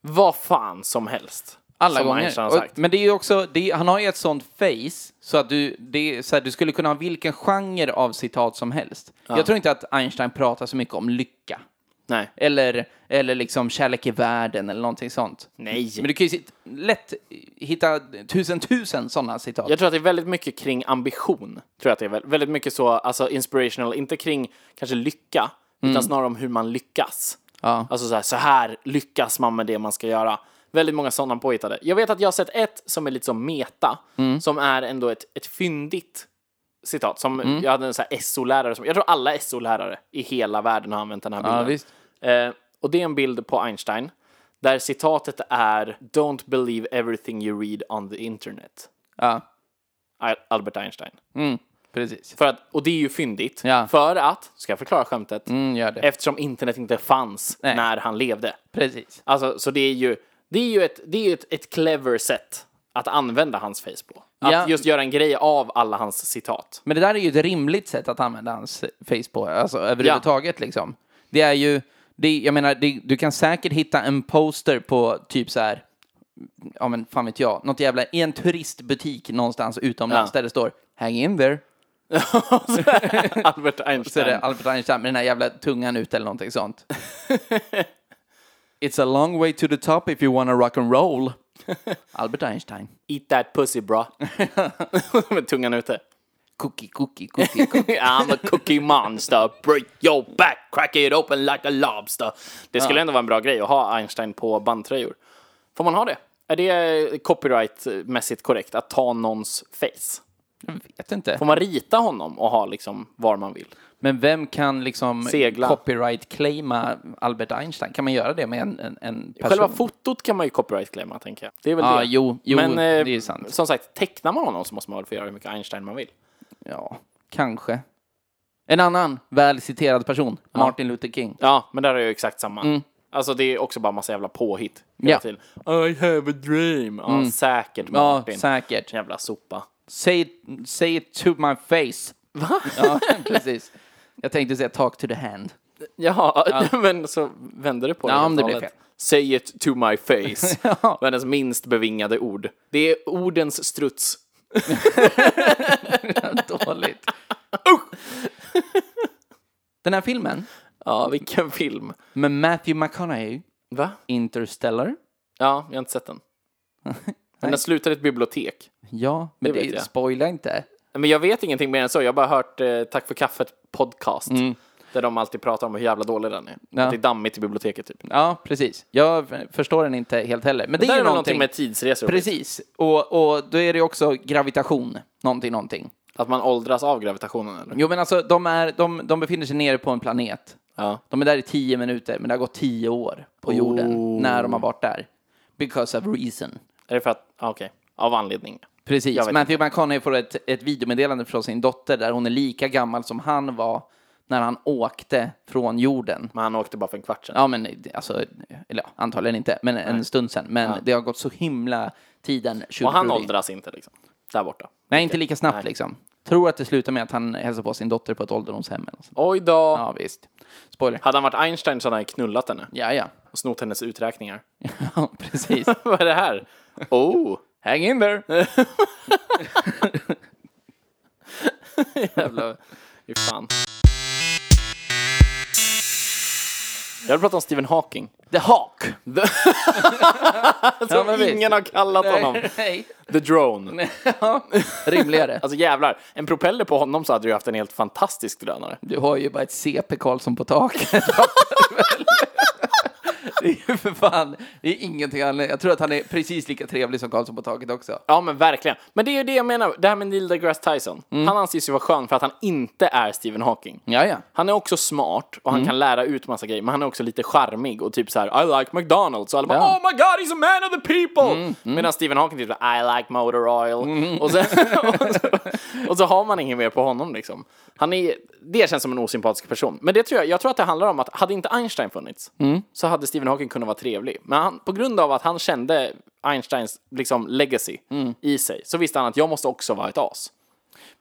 A: vad fan som helst.
B: Alla
A: som
B: gånger.
A: Einstein har
B: Och-
A: sagt.
B: Men det är ju också, det är, han har ju ett sånt face så att du, det är, så här, du skulle kunna ha vilken genre av citat som helst. Jag tror inte att Einstein pratar så mycket om lycka.
A: Nej.
B: Eller, eller liksom kärlek i världen eller någonting sånt.
A: Nej.
B: Men du kan ju sit, lätt hitta tusen tusen sådana citat.
A: Jag tror att det är väldigt mycket kring ambition. Tror jag att det är väl- väldigt mycket så, alltså inspirational, inte kring kanske lycka, utan snarare om hur man lyckas.
B: Ja.
A: Alltså så här, så här lyckas man med det man ska göra. Väldigt många sådana påhittade. Jag vet att jag har sett ett som är lite som meta, som är ändå ett, ett fyndigt citat. Som Jag hade en så här SO-lärare, som, jag tror alla SO-lärare i hela världen har använt den här bilden.
B: visst.
A: Eh, och det är en bild på Einstein, där citatet är “Don't believe everything you read on the internet”.
B: Ja,
A: Al- Albert Einstein.
B: precis.
A: För att, och det är ju fyndigt.
B: Ja.
A: För att, ska jag förklara skämtet,
B: Mm, gör det.
A: eftersom internet inte fanns
B: Nej.
A: när han levde.
B: Precis.
A: Alltså, så det är ju, det är ju, ett, det är ju ett, ett clever sätt att använda hans face på. Att
B: Ja.
A: just göra en grej av alla hans citat.
B: Men det där är ju ett rimligt sätt att använda hans face på, alltså överhuvudtaget liksom. Det är ju, det, jag menar, det, du kan säkert hitta en poster på typ så här, ja men fan vet jag, något jävla, i en turistbutik någonstans utomlands
A: Ja.
B: där det står “Hang in there”.
A: Albert
B: Så är
A: Einstein.
B: det Albert Einstein med den här jävla tungan ut eller någonting sånt. It's a long way to the top if you wanna rock and roll. Albert Einstein.
A: Eat that pussy bra. Med tungan ute.
B: Cookie, cookie, cookie, cookie.
A: I'm a cookie monster, break your back, crack it open like a lobster. Det skulle ändå vara en bra grej att ha Einstein på bandtröjor. Får man ha det? Är det copyrightmässigt korrekt att ta någons face?
B: Jag vet inte.
A: Får man rita honom och ha liksom var man vill?
B: Men vem kan liksom
A: Segla.
B: copyright-claima Albert Einstein? Kan man göra det med en, en, en person?
A: Själva fotot kan man ju copyright-claima, tänker jag. Det är väl
B: Ja,
A: det.
B: jo, jo,
A: Men
B: det
A: eh,
B: är ju sant.
A: som sagt, tecknar man honom så måste man väl få göra hur mycket Einstein man vill.
B: Ja, kanske. En annan väl citerad person, Martin Luther King.
A: Ja, men där är ju exakt samma. Alltså det är också bara massa jävla påhitt.
B: Mm. Ja. Mm.
A: hela tiden. I have a dream. Ja, säkert
B: Ja,
A: Martin.
B: säkert.
A: Jävla sopa.
B: Say, it- say it to my face. Va? Ja, precis. Jag tänkte säga talk to the hand.
A: Jaha, men så vände du på det
B: Ja,
A: helt
B: om det
A: och
B: blev
A: hållet.
B: fel.
A: Say it to my face. Världens minst bevingade ord. Det är ordens struts.
B: Dåligt. Den här filmen
A: Ja, vilken film.
B: med Matthew McConaughey,
A: Va?
B: Interstellar.
A: Ja, jag har inte sett den. Men den slutar i ett bibliotek.
B: Ja, men
A: Det
B: det,
A: vet jag.
B: spoila inte.
A: Men jag vet ingenting mer än så. Jag har bara hört eh, Tack för kaffet podcast. Där de alltid pratar om hur jävla dålig den är. Att det är dammigt i biblioteket typ.
B: Ja, precis. Jag f- förstår den inte helt heller. Men det, är
A: Det där är
B: ju
A: någonting
B: någonting.
A: med tidsresor.
B: Precis. Och, och då är det också gravitation. Någonting, någonting.
A: typ. Att man åldras av gravitationen eller?
B: Jo, men alltså de, är, de, de befinner sig nere på en planet.
A: Ja.
B: De är där i tio minuter, men det har gått tio år på jorden
A: Oh.
B: när de har varit där. Because of reason.
A: Är det för att, ah, okej, av anledning.
B: Precis.
A: Jag vet
B: Matthew McConaughey får ett, ett videomeddelande från sin dotter där hon är lika gammal som han var när han åkte från jorden.
A: Men han åkte bara för en kvart sedan.
B: Ja, men det- alltså, eller ja, antagligen inte, men en stund sedan. Men det har gått så himla tiden.
A: Och han
B: 20.
A: åldras inte liksom. Där borta.
B: Nej, inte lika snabbt
A: Nej.
B: liksom. Tror att det slutar med att han hälsar på sin dotter på ett ålderdomshem eller något sånt.
A: Oj då.
B: Ja, visst. Spoiler.
A: Hade han varit Einstein så hade han knullat henne
B: Ja, ja.
A: och snott hennes uträkningar.
B: ja precis.
A: Vad är det här? Oh!
B: Hang in there.
A: Jävlar. Fy fan. Jag vill prata om Stephen Hawking.
B: The Hawk.
A: Som
B: men visst.
A: ingen har kallat honom.
B: Nej.
A: The Drone.
B: Ja, rimligare.
A: Alltså jävlar, en propeller på honom så hade du haft en helt fantastisk drönare.
B: Du har ju bara ett CP Karlsson på taket. det är ju för fan, det är ingenting annat. Jag tror att han är precis lika trevlig som Karlsson på taket också.
A: Ja men verkligen. Men det är ju det jag menar, det här med Neil deGrasse Tyson. Han anses ju vara skön för att han inte är Stephen Hawking.
B: Ja, ja.
A: Han är också smart och han
B: Mm.
A: kan lära ut massa grejer, men han är också lite charmig och typ så här: I like McDonalds och alla bara
B: Ja. Mm,
A: Oh my god he's a man of the people! Medan Stephen Hawking typ I like motor oil och, så, och, så, och så har man inget mer på honom liksom. Han är, det känns som en osympatisk person. Men det tror jag, jag tror att det handlar om att hade inte Einstein funnits
B: Mm.
A: så hade Stephen Hawking kunnat vara trevlig. Men han, på grund av att han kände Einsteins liksom legacy
B: Mm.
A: i sig så visste han att jag måste också vara ett as.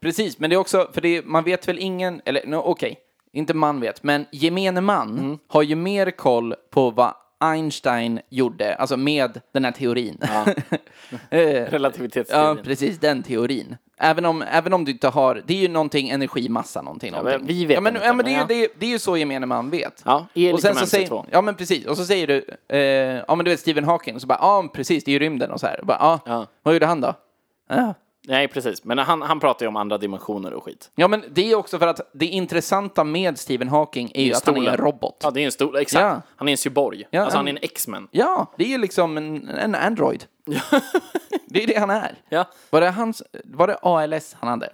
B: Precis, men det är också, för det, man vet väl ingen, eller no, okej, inte man vet, men gemene man
A: Mm.
B: har ju mer koll på vad Einstein gjorde, alltså med den här teorin. Eh, ja,
A: Relativitetsteorin.
B: precis den teorin. Även om, även om du inte har, det är ju någonting, energimassa, någonting.
A: men
B: någonting.
A: vi vet
B: ja, men,
A: inte,
B: ja, men det, är
A: men
B: ju, det, är, det är ju så gemene man vet.
A: Ja, E är
B: och
A: lika
B: sen
A: med
B: så
A: MC2.
B: säger, Ja, men precis. Och så säger du, eh, ja men du vet Stephen Hawking, och så bara, ja men precis, det är ju rymden och så här. Och Bara, ja,
A: Ja.
B: vad gjorde han då? Ja.
A: Nej, precis. Men han, han pratar ju om andra dimensioner och skit.
B: Ja, men det är också för att det intressanta med Stephen Hawking är ju att han är en
A: Stolen.
B: robot.
A: Ja, det är ju en stor, exakt.
B: Ja.
A: Han är en cyborg.
B: Ja,
A: alltså han är
B: han-
A: en X-Men.
B: Ja, det är ju liksom en, en Android. det är det han är.
A: Ja.
B: Var, det hans, var det ALS han hade?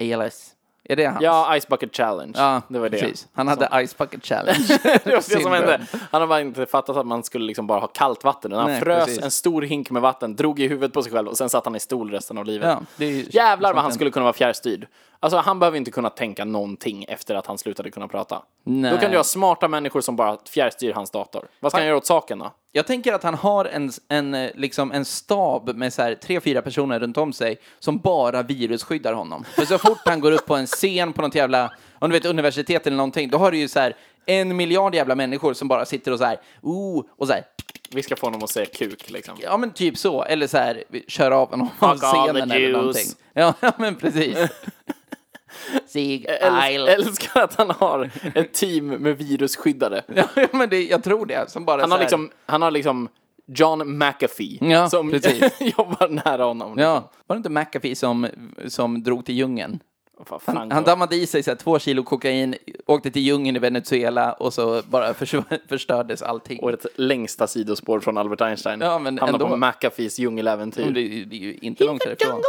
B: ALS? Är det hans?
A: ja, Ice Bucket Challenge.
B: Ja,
A: det var det.
B: precis. Han hade Ice Bucket Challenge.
A: Det var det som hände. Han har bara inte fattat att man skulle liksom bara ha kallt vatten. Han
B: Nej,
A: frös
B: precis.
A: en stor hink med vatten, drog i huvudet på sig själv och sen satt han i stol resten av livet.
B: Ja, det är ju-
A: Jävlar vad han skulle kunna vara fjärrstyrd. Alltså han behöver inte kunna tänka någonting efter att han slutade kunna prata.
B: Nej.
A: Då kan du ha smarta människor som bara fjärrstyr hans dator. Vad ska han göra åt saken då?
B: Jag tänker att han har en, en, eh, liksom en stab med så här, tre, fyra personer runt om sig som bara virusskyddar honom. För så fort han går upp på en scen på något jävla, om du vet universitet eller någonting, då har du ju så här en miljard jävla människor som bara sitter och så här, oh, och så här,
A: Vi ska få honom att säga kuk liksom.
B: ja men typ så, eller så här, vi kör av honom av
A: Fuck all the
B: scenen eller
A: Jews.
B: någonting. Ja, ja, men precis. Sig
A: Äl-
B: Isle.
A: älskar att han har ett team med virusskyddare.
B: Ja, men det, jag tror det, som bara
A: Han
B: så
A: har
B: här,
A: liksom, han har liksom John McAfee
B: Ja,
A: som
B: precis.
A: jobbar nära honom.
B: Ja, var det inte McAfee som, som drog till djungeln?
A: Vad fan
B: Han dammade i sig så här, två kilo kokain, åkte till djungeln i Venezuela och så bara försv- förstördes allting.
A: Årets längsta sidospår från Albert Einstein.
B: Ja, men
A: Hamnar
B: ändå. Mm,
A: på McAfees djungeläventyr.
B: Det, är ju- det är ju inte långt därifrån.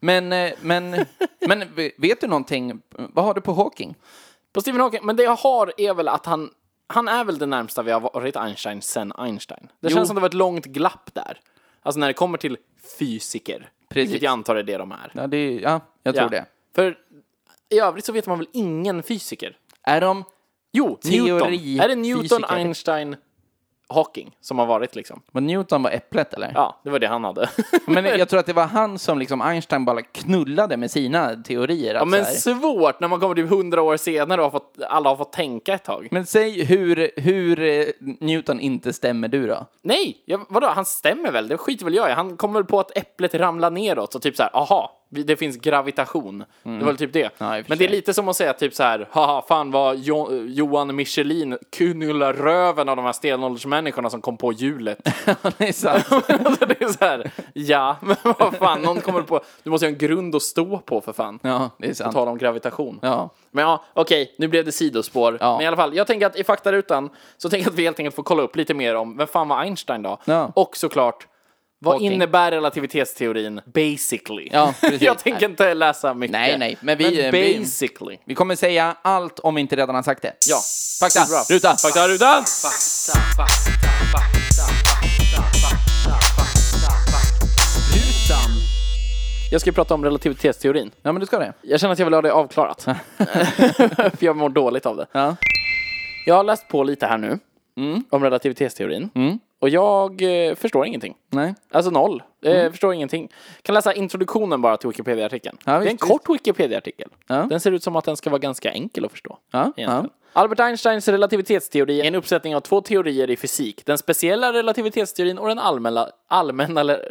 B: Men, eh, men, men vet du någonting? Vad har du på Hawking?
A: På Stephen Hawking, men det jag har är väl att han, han är väl det närmsta vi har varit Einstein sen Einstein. Det känns som det var ett långt glapp där. Alltså när det kommer till fysiker.
B: Precis.
A: Vilket jag antar är det de är.
B: Ja, det, är- ja jag tror det.
A: För i övrigt så vet man väl ingen fysiker?
B: Är de...
A: Jo,
B: Teori-
A: Newton. Är det Newton,
B: fysiker. Mm.
A: Einstein, Hawking som har varit liksom?
B: Var Newton var äpplet eller?
A: Ja, det var det han hade.
B: Men jag tror att det var han som liksom Einstein bara knullade med sina teorier. Att
A: Ja, men
B: så här,
A: svårt när man kommer typ hundra år senare och har fått, alla har fått tänka ett tag.
B: men säg hur, hur eh, Newton inte stämmer du då?
A: Nej, jag, vadå, han stämmer väl? Det skiter väl jag i. Han kommer väl på att äpplet ramlar neråt och typ så här, aha, vi- det finns gravitation. Det var väl typ det.
B: Mm. Ja, i och för
A: men det är
B: sig.
A: lite som att säga typ så här, haha, fan vad jo, Johan Michelin knullar röven av de här stenåldersmänniskorna som kom på hjulet.
B: det är sant.
A: alltså det är så här, ja, men vad fan, någon kommer på, du måste ju ha en grund att stå på för fan.
B: Ja, det är sant.
A: Tala om gravitation.
B: Ja.
A: Men ja, okej, nu blev det sidospår.
B: Ja.
A: Men i alla fall, jag tänker att i faktarutan så tänker jag att vi helt enkelt får kolla upp lite mer om vem fan var Einstein då?
B: Ja.
A: Och såklart, Vad
B: Hawking.
A: innebär relativitetsteorin basically?
B: Ja, precis.
A: jag tänker inte läsa mycket.
B: Nej, nej, men vi- eh, vi-
A: basically.
B: Vi kommer säga allt om vi inte redan har sagt det.
A: Ja.
B: Fakta,
A: Bra.
B: ruta.
A: Fakta, rutan! Jag ska ju prata om relativitetsteorin.
B: Ja, men du ska det.
A: Jag känner att jag vill ha det avklarat. För jag mår dåligt av det.
B: Ja. Mm.
A: Jag har läst på lite här nu. Om relativitetsteorin. Och jag eh, förstår ingenting.
B: Nej. Mm.
A: Alltså noll. Eh, Förstår ingenting. Kan läsa introduktionen bara till Wikipedia-artikeln.
B: Ja,
A: det är en
B: visst,
A: kort Wikipedia-artikel.
B: Ja.
A: Den ser ut som att den ska vara ganska enkel att förstå.
B: Ja,
A: egentligen. Albert Einsteins relativitetsteori är en uppsättning av två teorier i fysik. Den speciella relativitetsteorin och den allmänna... allmänna le-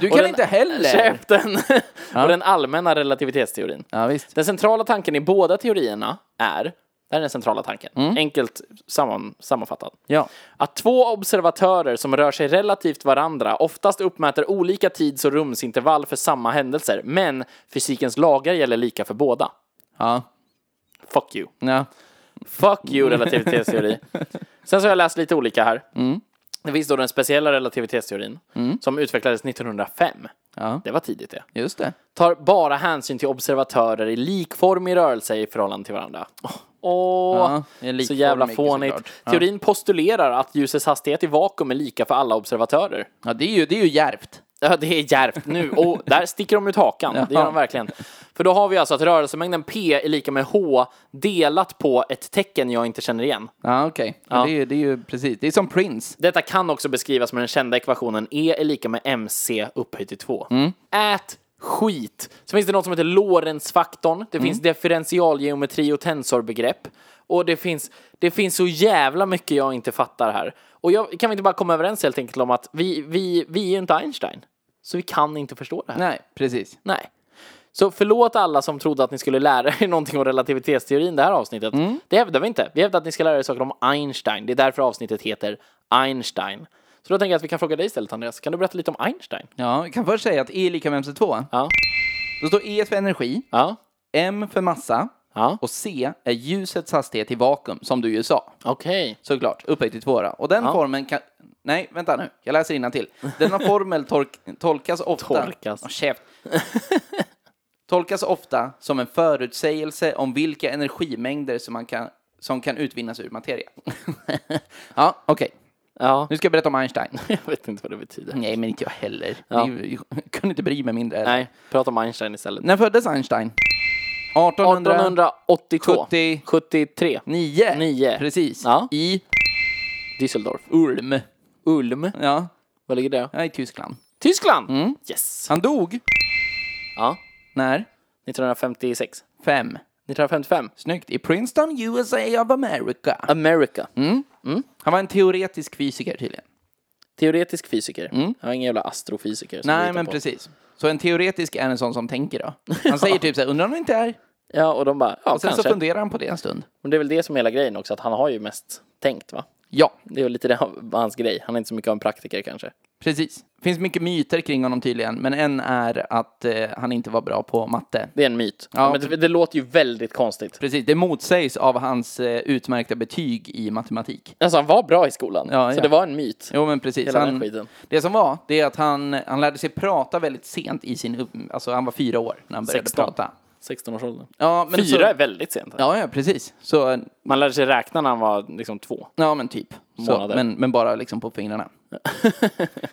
B: Du
A: och
B: kan
A: den-
B: inte heller.
A: Käften! och den allmänna relativitetsteorin.
B: Ja, visst.
A: Den centrala tanken i båda teorierna är, det här är den centrala tanken, enkelt samman, sammanfattad.
B: Mm. Ja.
A: Att två observatörer som rör sig relativt varandra oftast uppmäter olika tids och rumsintervall för samma händelser, men fysikens lagar gäller lika för båda.
B: Ja.
A: Fuck you.
B: Ja.
A: Fuck you relativitetsteori. Sen så har jag läst lite olika här.
B: Mm.
A: Det finns då den speciella relativitetsteorin som utvecklades 1905.
B: Ja.
A: Det var tidigt det.
B: Just det.
A: Tar bara hänsyn till observatörer i likformig rörelse i förhållande till varandra. Åh,
B: Ja, det är
A: så
B: likformig,
A: jävla fånigt.
B: såklart. Ja.
A: Teorin postulerar att ljusets hastighet i vakuum är lika för alla observatörer.
B: Ja, det är ju, det är ju djärvt.
A: Ja, det är djärvt nu. Och där sticker de ut hakan. Det gör de verkligen. För då har vi alltså att rörelsemängden P är lika med H delat på ett tecken jag inte känner igen.
B: Ja, okej. Ja. Det, är ju- det är ju precis. Det är som Prince.
A: Detta kan också beskrivas med den kända ekvationen E är lika med MC upphöjt till 2. Ät skit! Så finns det något som heter Lorentzfaktorn. Det finns differentialgeometri och tensorbegrepp. Och det finns, det finns så jävla mycket jag inte fattar här. Och jag, kan vi inte bara komma överens helt enkelt om att vi, vi, vi är ju inte Einstein. Så vi kan inte förstå det här.
B: Nej, precis.
A: Nej. Så förlåt alla som trodde att ni skulle lära er någonting om relativitetsteorin det här avsnittet. Det hävdar vi inte. Vi hävdar att ni ska lära er saker om Einstein. Det är därför avsnittet heter Einstein. Så då tänker jag att vi kan fråga dig istället Andreas. Kan du berätta lite om Einstein?
B: Ja, vi kan först säga att E är lika med MC2.
A: Ja.
B: Då står E för energi,
A: Ja.
B: M för massa
A: Ja.
B: och C är ljusets hastighet i vakuum, som du ju sa.
A: Okej.
B: Såklart, upphöjt till tvåa. Och den formen kan... Nej, vänta nu. Jag läser till. Denna formel tork... tolkas ofta...
A: Torkas.
B: Åh, käft. tolkas ofta som en förutsägelse om vilka energimängder som, man kan... som kan utvinnas ur materia. ja, okej.
A: Ja.
B: Nu ska jag berätta om Einstein.
A: Jag vet inte vad det betyder.
B: Nej, men inte jag heller.
A: Ja.
B: Ni- Jag kunde inte bry mig mindre. heller.
A: Nej, prata om Einstein istället.
B: När föddes Einstein? 1800...
A: 1882.
B: 70.
A: 73.
B: 9.
A: Nio.
B: Precis.
A: Ja.
B: I
A: Düsseldorf.
B: Ulm.
A: Ulm. Mm.
B: Ja,
A: Var ligger det?
B: ja, i Tyskland.
A: Tyskland! Yes.
B: Han dog
A: Ja.
B: när?
A: 1956.
B: Fem.
A: 1955.
B: Snyggt. I Princeton, USA of America.
A: America.
B: Han var en teoretisk fysiker tydligen.
A: Teoretisk fysiker. Jag är ingen jävla astrofysiker. som vi
B: Mm. Nej,
A: hittar
B: men
A: på.
B: precis. Så en teoretisk är en sån som tänker då? Han säger typ så här, undrar om det inte är?
A: Ja, och de bara, ja
B: Och sen
A: kanske.
B: så funderar han på det en stund.
A: Men det är väl det som är hela grejen också, att han har ju mest tänkt va?
B: Ja,
A: Det är väl lite det, av hans grej. Han är inte så mycket av en praktiker kanske.
B: precis. finns mycket myter kring honom tydligen, men en är att eh, han inte var bra på matte.
A: Det är en myt.
B: Ja.
A: men det, det låter ju väldigt konstigt.
B: Precis, det motsägs av hans eh, utmärkta betyg i matematik.
A: Alltså han var bra i skolan,
B: Ja,
A: så
B: ja.
A: det var en myt.
B: Jo men precis.
A: Hela den skiten.
B: det som var, det är att han, han lärde sig prata väldigt sent i sin upp, Alltså han var fyra år när han började
A: 16.
B: prata.
A: 16-årsåldern.
B: Ja, men
A: Fyra är
B: Så,
A: väldigt sent.
B: ja, ja, precis. Så,
A: Man lärde sig räkna när han var liksom två.
B: ja men typ. Så,
A: Månader.
B: men, men bara liksom på fingrarna.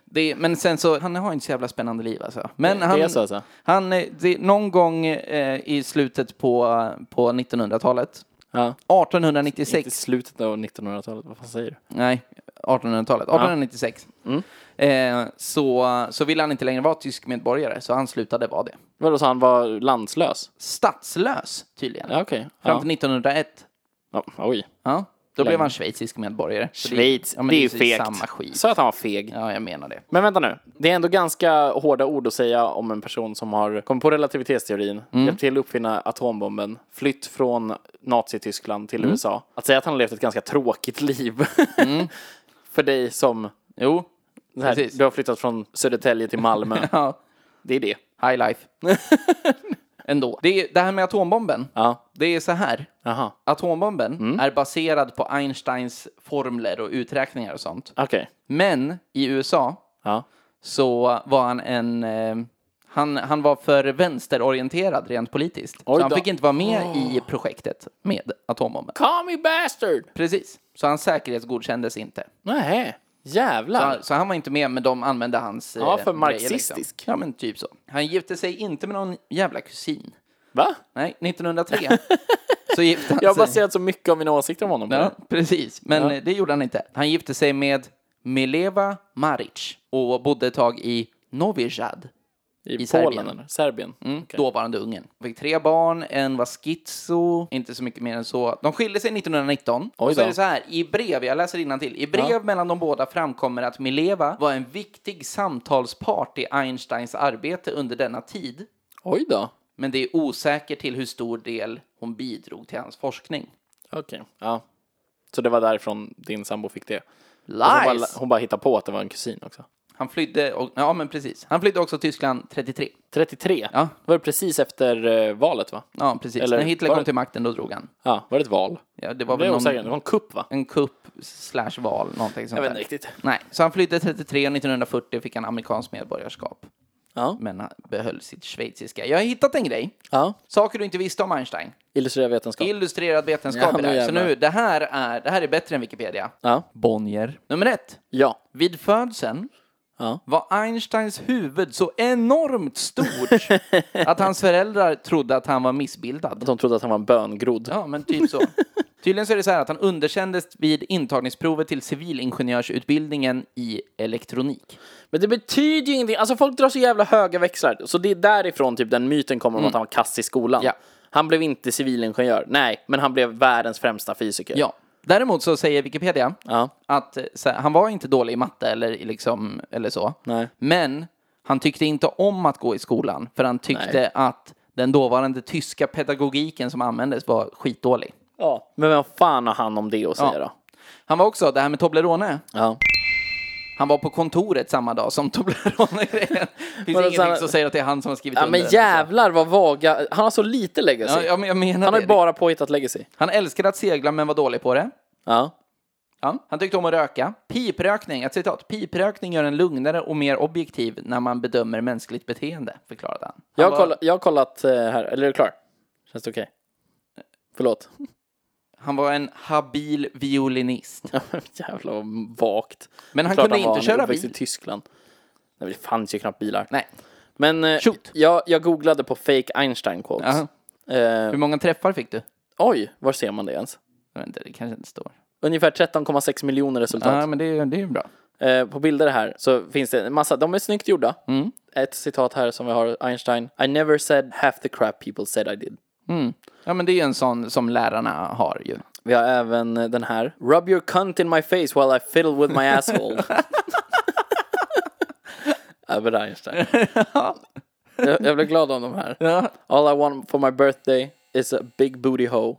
B: det, men sen så, han har inte så jävla spännande liv alltså. Men
A: Det- det
B: han,
A: är så, alltså.
B: han eh, det, någon gång eh, i slutet på, på 1900-talet,
A: Ja.
B: 1896,
A: Inte slutet av 1900-talet, vad fan säger du?
B: Nej, 1800-talet. 1896.
A: Mm.
B: Eh, så, så ville han inte längre vara tysk medborgare, så han slutade vara det.
A: Vadå, så han var landslös?
B: Statslös, tydligen.
A: Ja, okej.
B: Fram
A: Ja.
B: till 1901.
A: Ja, oj.
B: Ja, då blev han schweizisk medborgare. Så
A: Schweiz,
B: ja, men
A: det är ju
B: precis
A: fegt.
B: samma skit.
A: Sa att han var feg.
B: Ja, jag menar det.
A: Men vänta nu, det är ändå ganska hårda ord att säga om en person som har kommit på relativitetsteorin,
B: Mm.
A: hjälpt till att uppfinna atombomben, flytt från Nazityskland
B: Mm.
A: till USA. Att säga att han har levt ett ganska tråkigt liv. För dig som,
B: Jo,
A: det här,
B: Mm. Precis.
A: du har flyttat från Södertälje till Malmö.
B: ja,
A: Det är det.
B: high life. Ändå. Det, är, det här med atombomben,
A: Ja. Mm.
B: det är så här.
A: Jaha,
B: Atombomben är baserad på Einsteins formler och uträkningar och sånt.
A: okej.
B: Men i USA
A: Ja.
B: så var han en... Eh, han, han var för vänsterorienterad rent politiskt.
A: Oj
B: Så han
A: då. Ah.
B: fick inte vara med i projektet med atombomben.
A: Call me bastard!
B: Precis. Så hans säkerhetsgodkändes inte.
A: Nej, jävlar.
B: Så, så han var inte med, men de använde hans... eh,
A: Ja, för
B: grejer,
A: marxistisk.
B: liksom. Ja, men typ så. Han gifte sig inte med någon jävla kusin.
A: Va?
B: Nej, 1903 så gifte han
A: Jag har
B: sig...
A: baserat så mycket av mina åsikter om honom på
B: Ja,
A: det.
B: precis. Men
A: Ja.
B: eh, det gjorde han inte. Han gifte sig med Mileva Maric och bodde ett tag i Novigrad,
A: I,
B: i
A: Polen
B: Serbien.
A: eller Serbien. Mm.
B: dåvarande Ungern. Fick tre barn, en var schizo, inte så mycket mer än så. De skilde sig 1919.
A: Oj
B: och så
A: då.
B: är det så här, i brev, jag läser till. i brev
A: Ja.
B: mellan de båda framkommer att Mileva var en viktig samtalspart i Einsteins arbete under denna tid.
A: Oj då.
B: Men det är osäkert till hur stor del hon bidrog till hans forskning.
A: Okej. Ja. Så det var därifrån din sambo fick det? Hon bara,
B: Lies!
A: hon bara hittade på att det var en kusin också.
B: Han flydde, och, ja men precis. Han flydde också till Tyskland 33.
A: 33?
B: Ja.
A: Det var precis efter eh, valet va?
B: Ja, precis.
A: Eller
B: När Hitler
A: var
B: kom
A: det-
B: till makten, då drog han.
A: Ja, var det ett val?
B: Ja, det var
A: Det,
B: väl
A: är
B: någon,
A: osäkert. det var en kupp va?
B: en kupp slash val, någonting sånt
A: Jag vet
B: där.
A: inte riktigt.
B: Nej, så han flydde 33 och 1940 fick han amerikanskt medborgarskap.
A: Ja.
B: Men han behöll sitt schweiziska. Jag har hittat en grej.
A: ja.
B: Saker du inte visste om Einstein.
A: Illustrerad vetenskap.
B: Illustrerad
A: Ja,
B: vetenskap
A: men
B: är det här. Så
A: jävlar.
B: nu, det här är, det här är bättre än Wikipedia.
A: ja.
B: Bonnier. Nummer ett.
A: Ja.
B: Vid födseln
A: Ja.
B: var Einsteins huvud så enormt stort att hans föräldrar trodde att han var missbildad.
A: De trodde att han var en böngrodd.
B: Ja, men typ så. Tydligen så är det så här att han underkändes vid intagningsprovet till civilingenjörsutbildningen i elektronik.
A: Men det betyder ju ingenting. Alltså folk drar så jävla höga växlar. Så det är därifrån typ den myten kommer om att han var kass i skolan.
B: Ja.
A: Han blev inte civilingenjör. Nej, men han blev världens främsta fysiker.
B: Ja. Däremot så säger Wikipedia
A: Ja.
B: att eh, så här, han var inte dålig i matte eller, i liksom, eller så.
A: Nej.
B: Men han tyckte inte om att gå i skolan för han tyckte
A: Nej.
B: att den dåvarande tyska pedagogiken som användes var skitdålig.
A: ja. Men vem fan har han om det att säga
B: Ja.
A: då?
B: Han var också, det här med Toblerone,
A: Ja.
B: han var på kontoret samma dag som Toblerone-grejen. finns ingenting
A: sådär-
B: som säger att det är han som har skrivit
A: ja
B: under.
A: men
B: den, liksom.
A: jävlar vad vaga. Han har så lite legacy.
B: Ja, ja, men jag menar
A: han har
B: det.
A: ju bara påhittat legacy.
B: Han älskade att segla men var dålig på det.
A: Ja.
B: Ja. Han tyckte om att röka. Piprökning, ett citat. Piprökning gör en lugnare och mer objektiv när man bedömer mänskligt beteende, förklarade han. han
A: Jag har,
B: var,
A: kollat, jag har kollat eh, här, eller är du klar? Känns det okej? Förlåt.
B: han var en habil violinist.
A: Jävlar vad vagt.
B: Men han
A: Klart
B: kunde
A: var,
B: inte köra
A: är uppväxt
B: bil.
A: i Tyskland. Nej, men det fanns ju knappt bilar.
B: Nej.
A: Men eh,
B: Shoot.
A: jag, jag googlade på fake Einstein quotes.
B: Jaha.
A: Eh,
B: Hur många träffar fick du?
A: oj, var ser man det ens?
B: Jag vet inte, det kanske inte står.
A: Ungefär 13,6 miljoner resultat.
B: Ja, men det, är- det är ju bra.
A: Eh, på bilder här så finns det en massa, de är snyggt gjorda. Ett citat här som vi har, Einstein. I never said half the crap people said I did.
B: Ja, men det är ju en sån som lärarna har ju.
A: Vi har även eh, den här. Rub your cunt in my face while I fiddle with my asshole. Albert Einstein. jag, jag blev glad av de här. All I want for my birthday is a big booty hoe.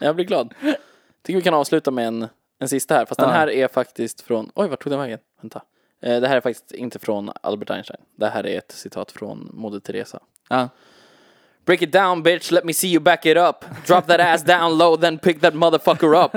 A: jag blir glad. Tycker vi kan avsluta med en, en sista här. Fast den här är faktiskt från... Oj, vart tog den vägen? Vänta. Eh, Det här är faktiskt inte från Albert Einstein. Det här är ett citat från Moder Teresa.
B: Ja.
A: Break it down bitch, let me see you back it up. Drop that ass down low, then pick that motherfucker up.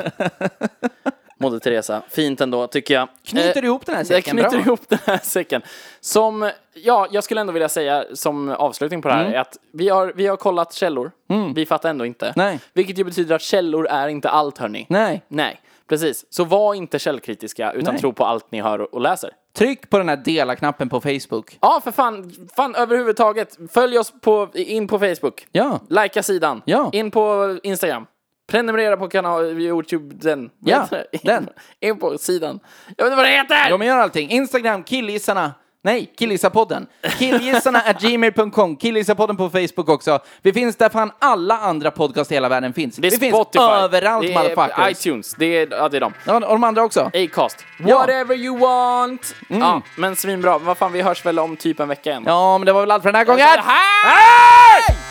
A: Moder Teresa, fint ändå tycker jag.
B: Knyter
A: Eh,
B: ihop den här säcken
A: jag knyter
B: bra.
A: ihop den här säcken. Som, ja, jag skulle ändå vilja säga som avslutning på det här
B: Mm.
A: är att vi har, vi har kollat källor. Vi fattar ändå inte.
B: Nej.
A: Vilket ju betyder att källor är inte allt hörni.
B: Nej.
A: Nej, precis. Så var inte källkritiska utan
B: Nej.
A: tro på allt ni hör och läser.
B: Tryck på den här dela-knappen på Facebook.
A: Ja, för fan, fan överhuvudtaget. Följ oss på, in på Facebook.
B: Ja.
A: Lajka sidan.
B: Ja.
A: In på Instagram. Prenumerera på kanal YouTube, den. Vad
B: Ja,
A: heter det?
B: den.
A: In på sidan. Jag vet inte vad det heter!
B: De gör allting. Instagram, killgissarna. Nej, killgissapodden. Killgissarna at gmail.com. Killgissapodden på Facebook också. Vi finns där fan alla andra podcast i hela världen finns.
A: Det är
B: vi finns
A: Spotify.
B: överallt,
A: det är
B: motherfuckers.
A: iTunes. Eh. Det är, ja, det är de.
B: Ja, och de andra också.
A: Acast. Mm.
B: Ja.
A: Whatever you want! Ja, men svinbra. Vad fan, vi hörs väl om typ en vecka igen.
B: Ja, men det var väl allt för den här gången.
A: Hej!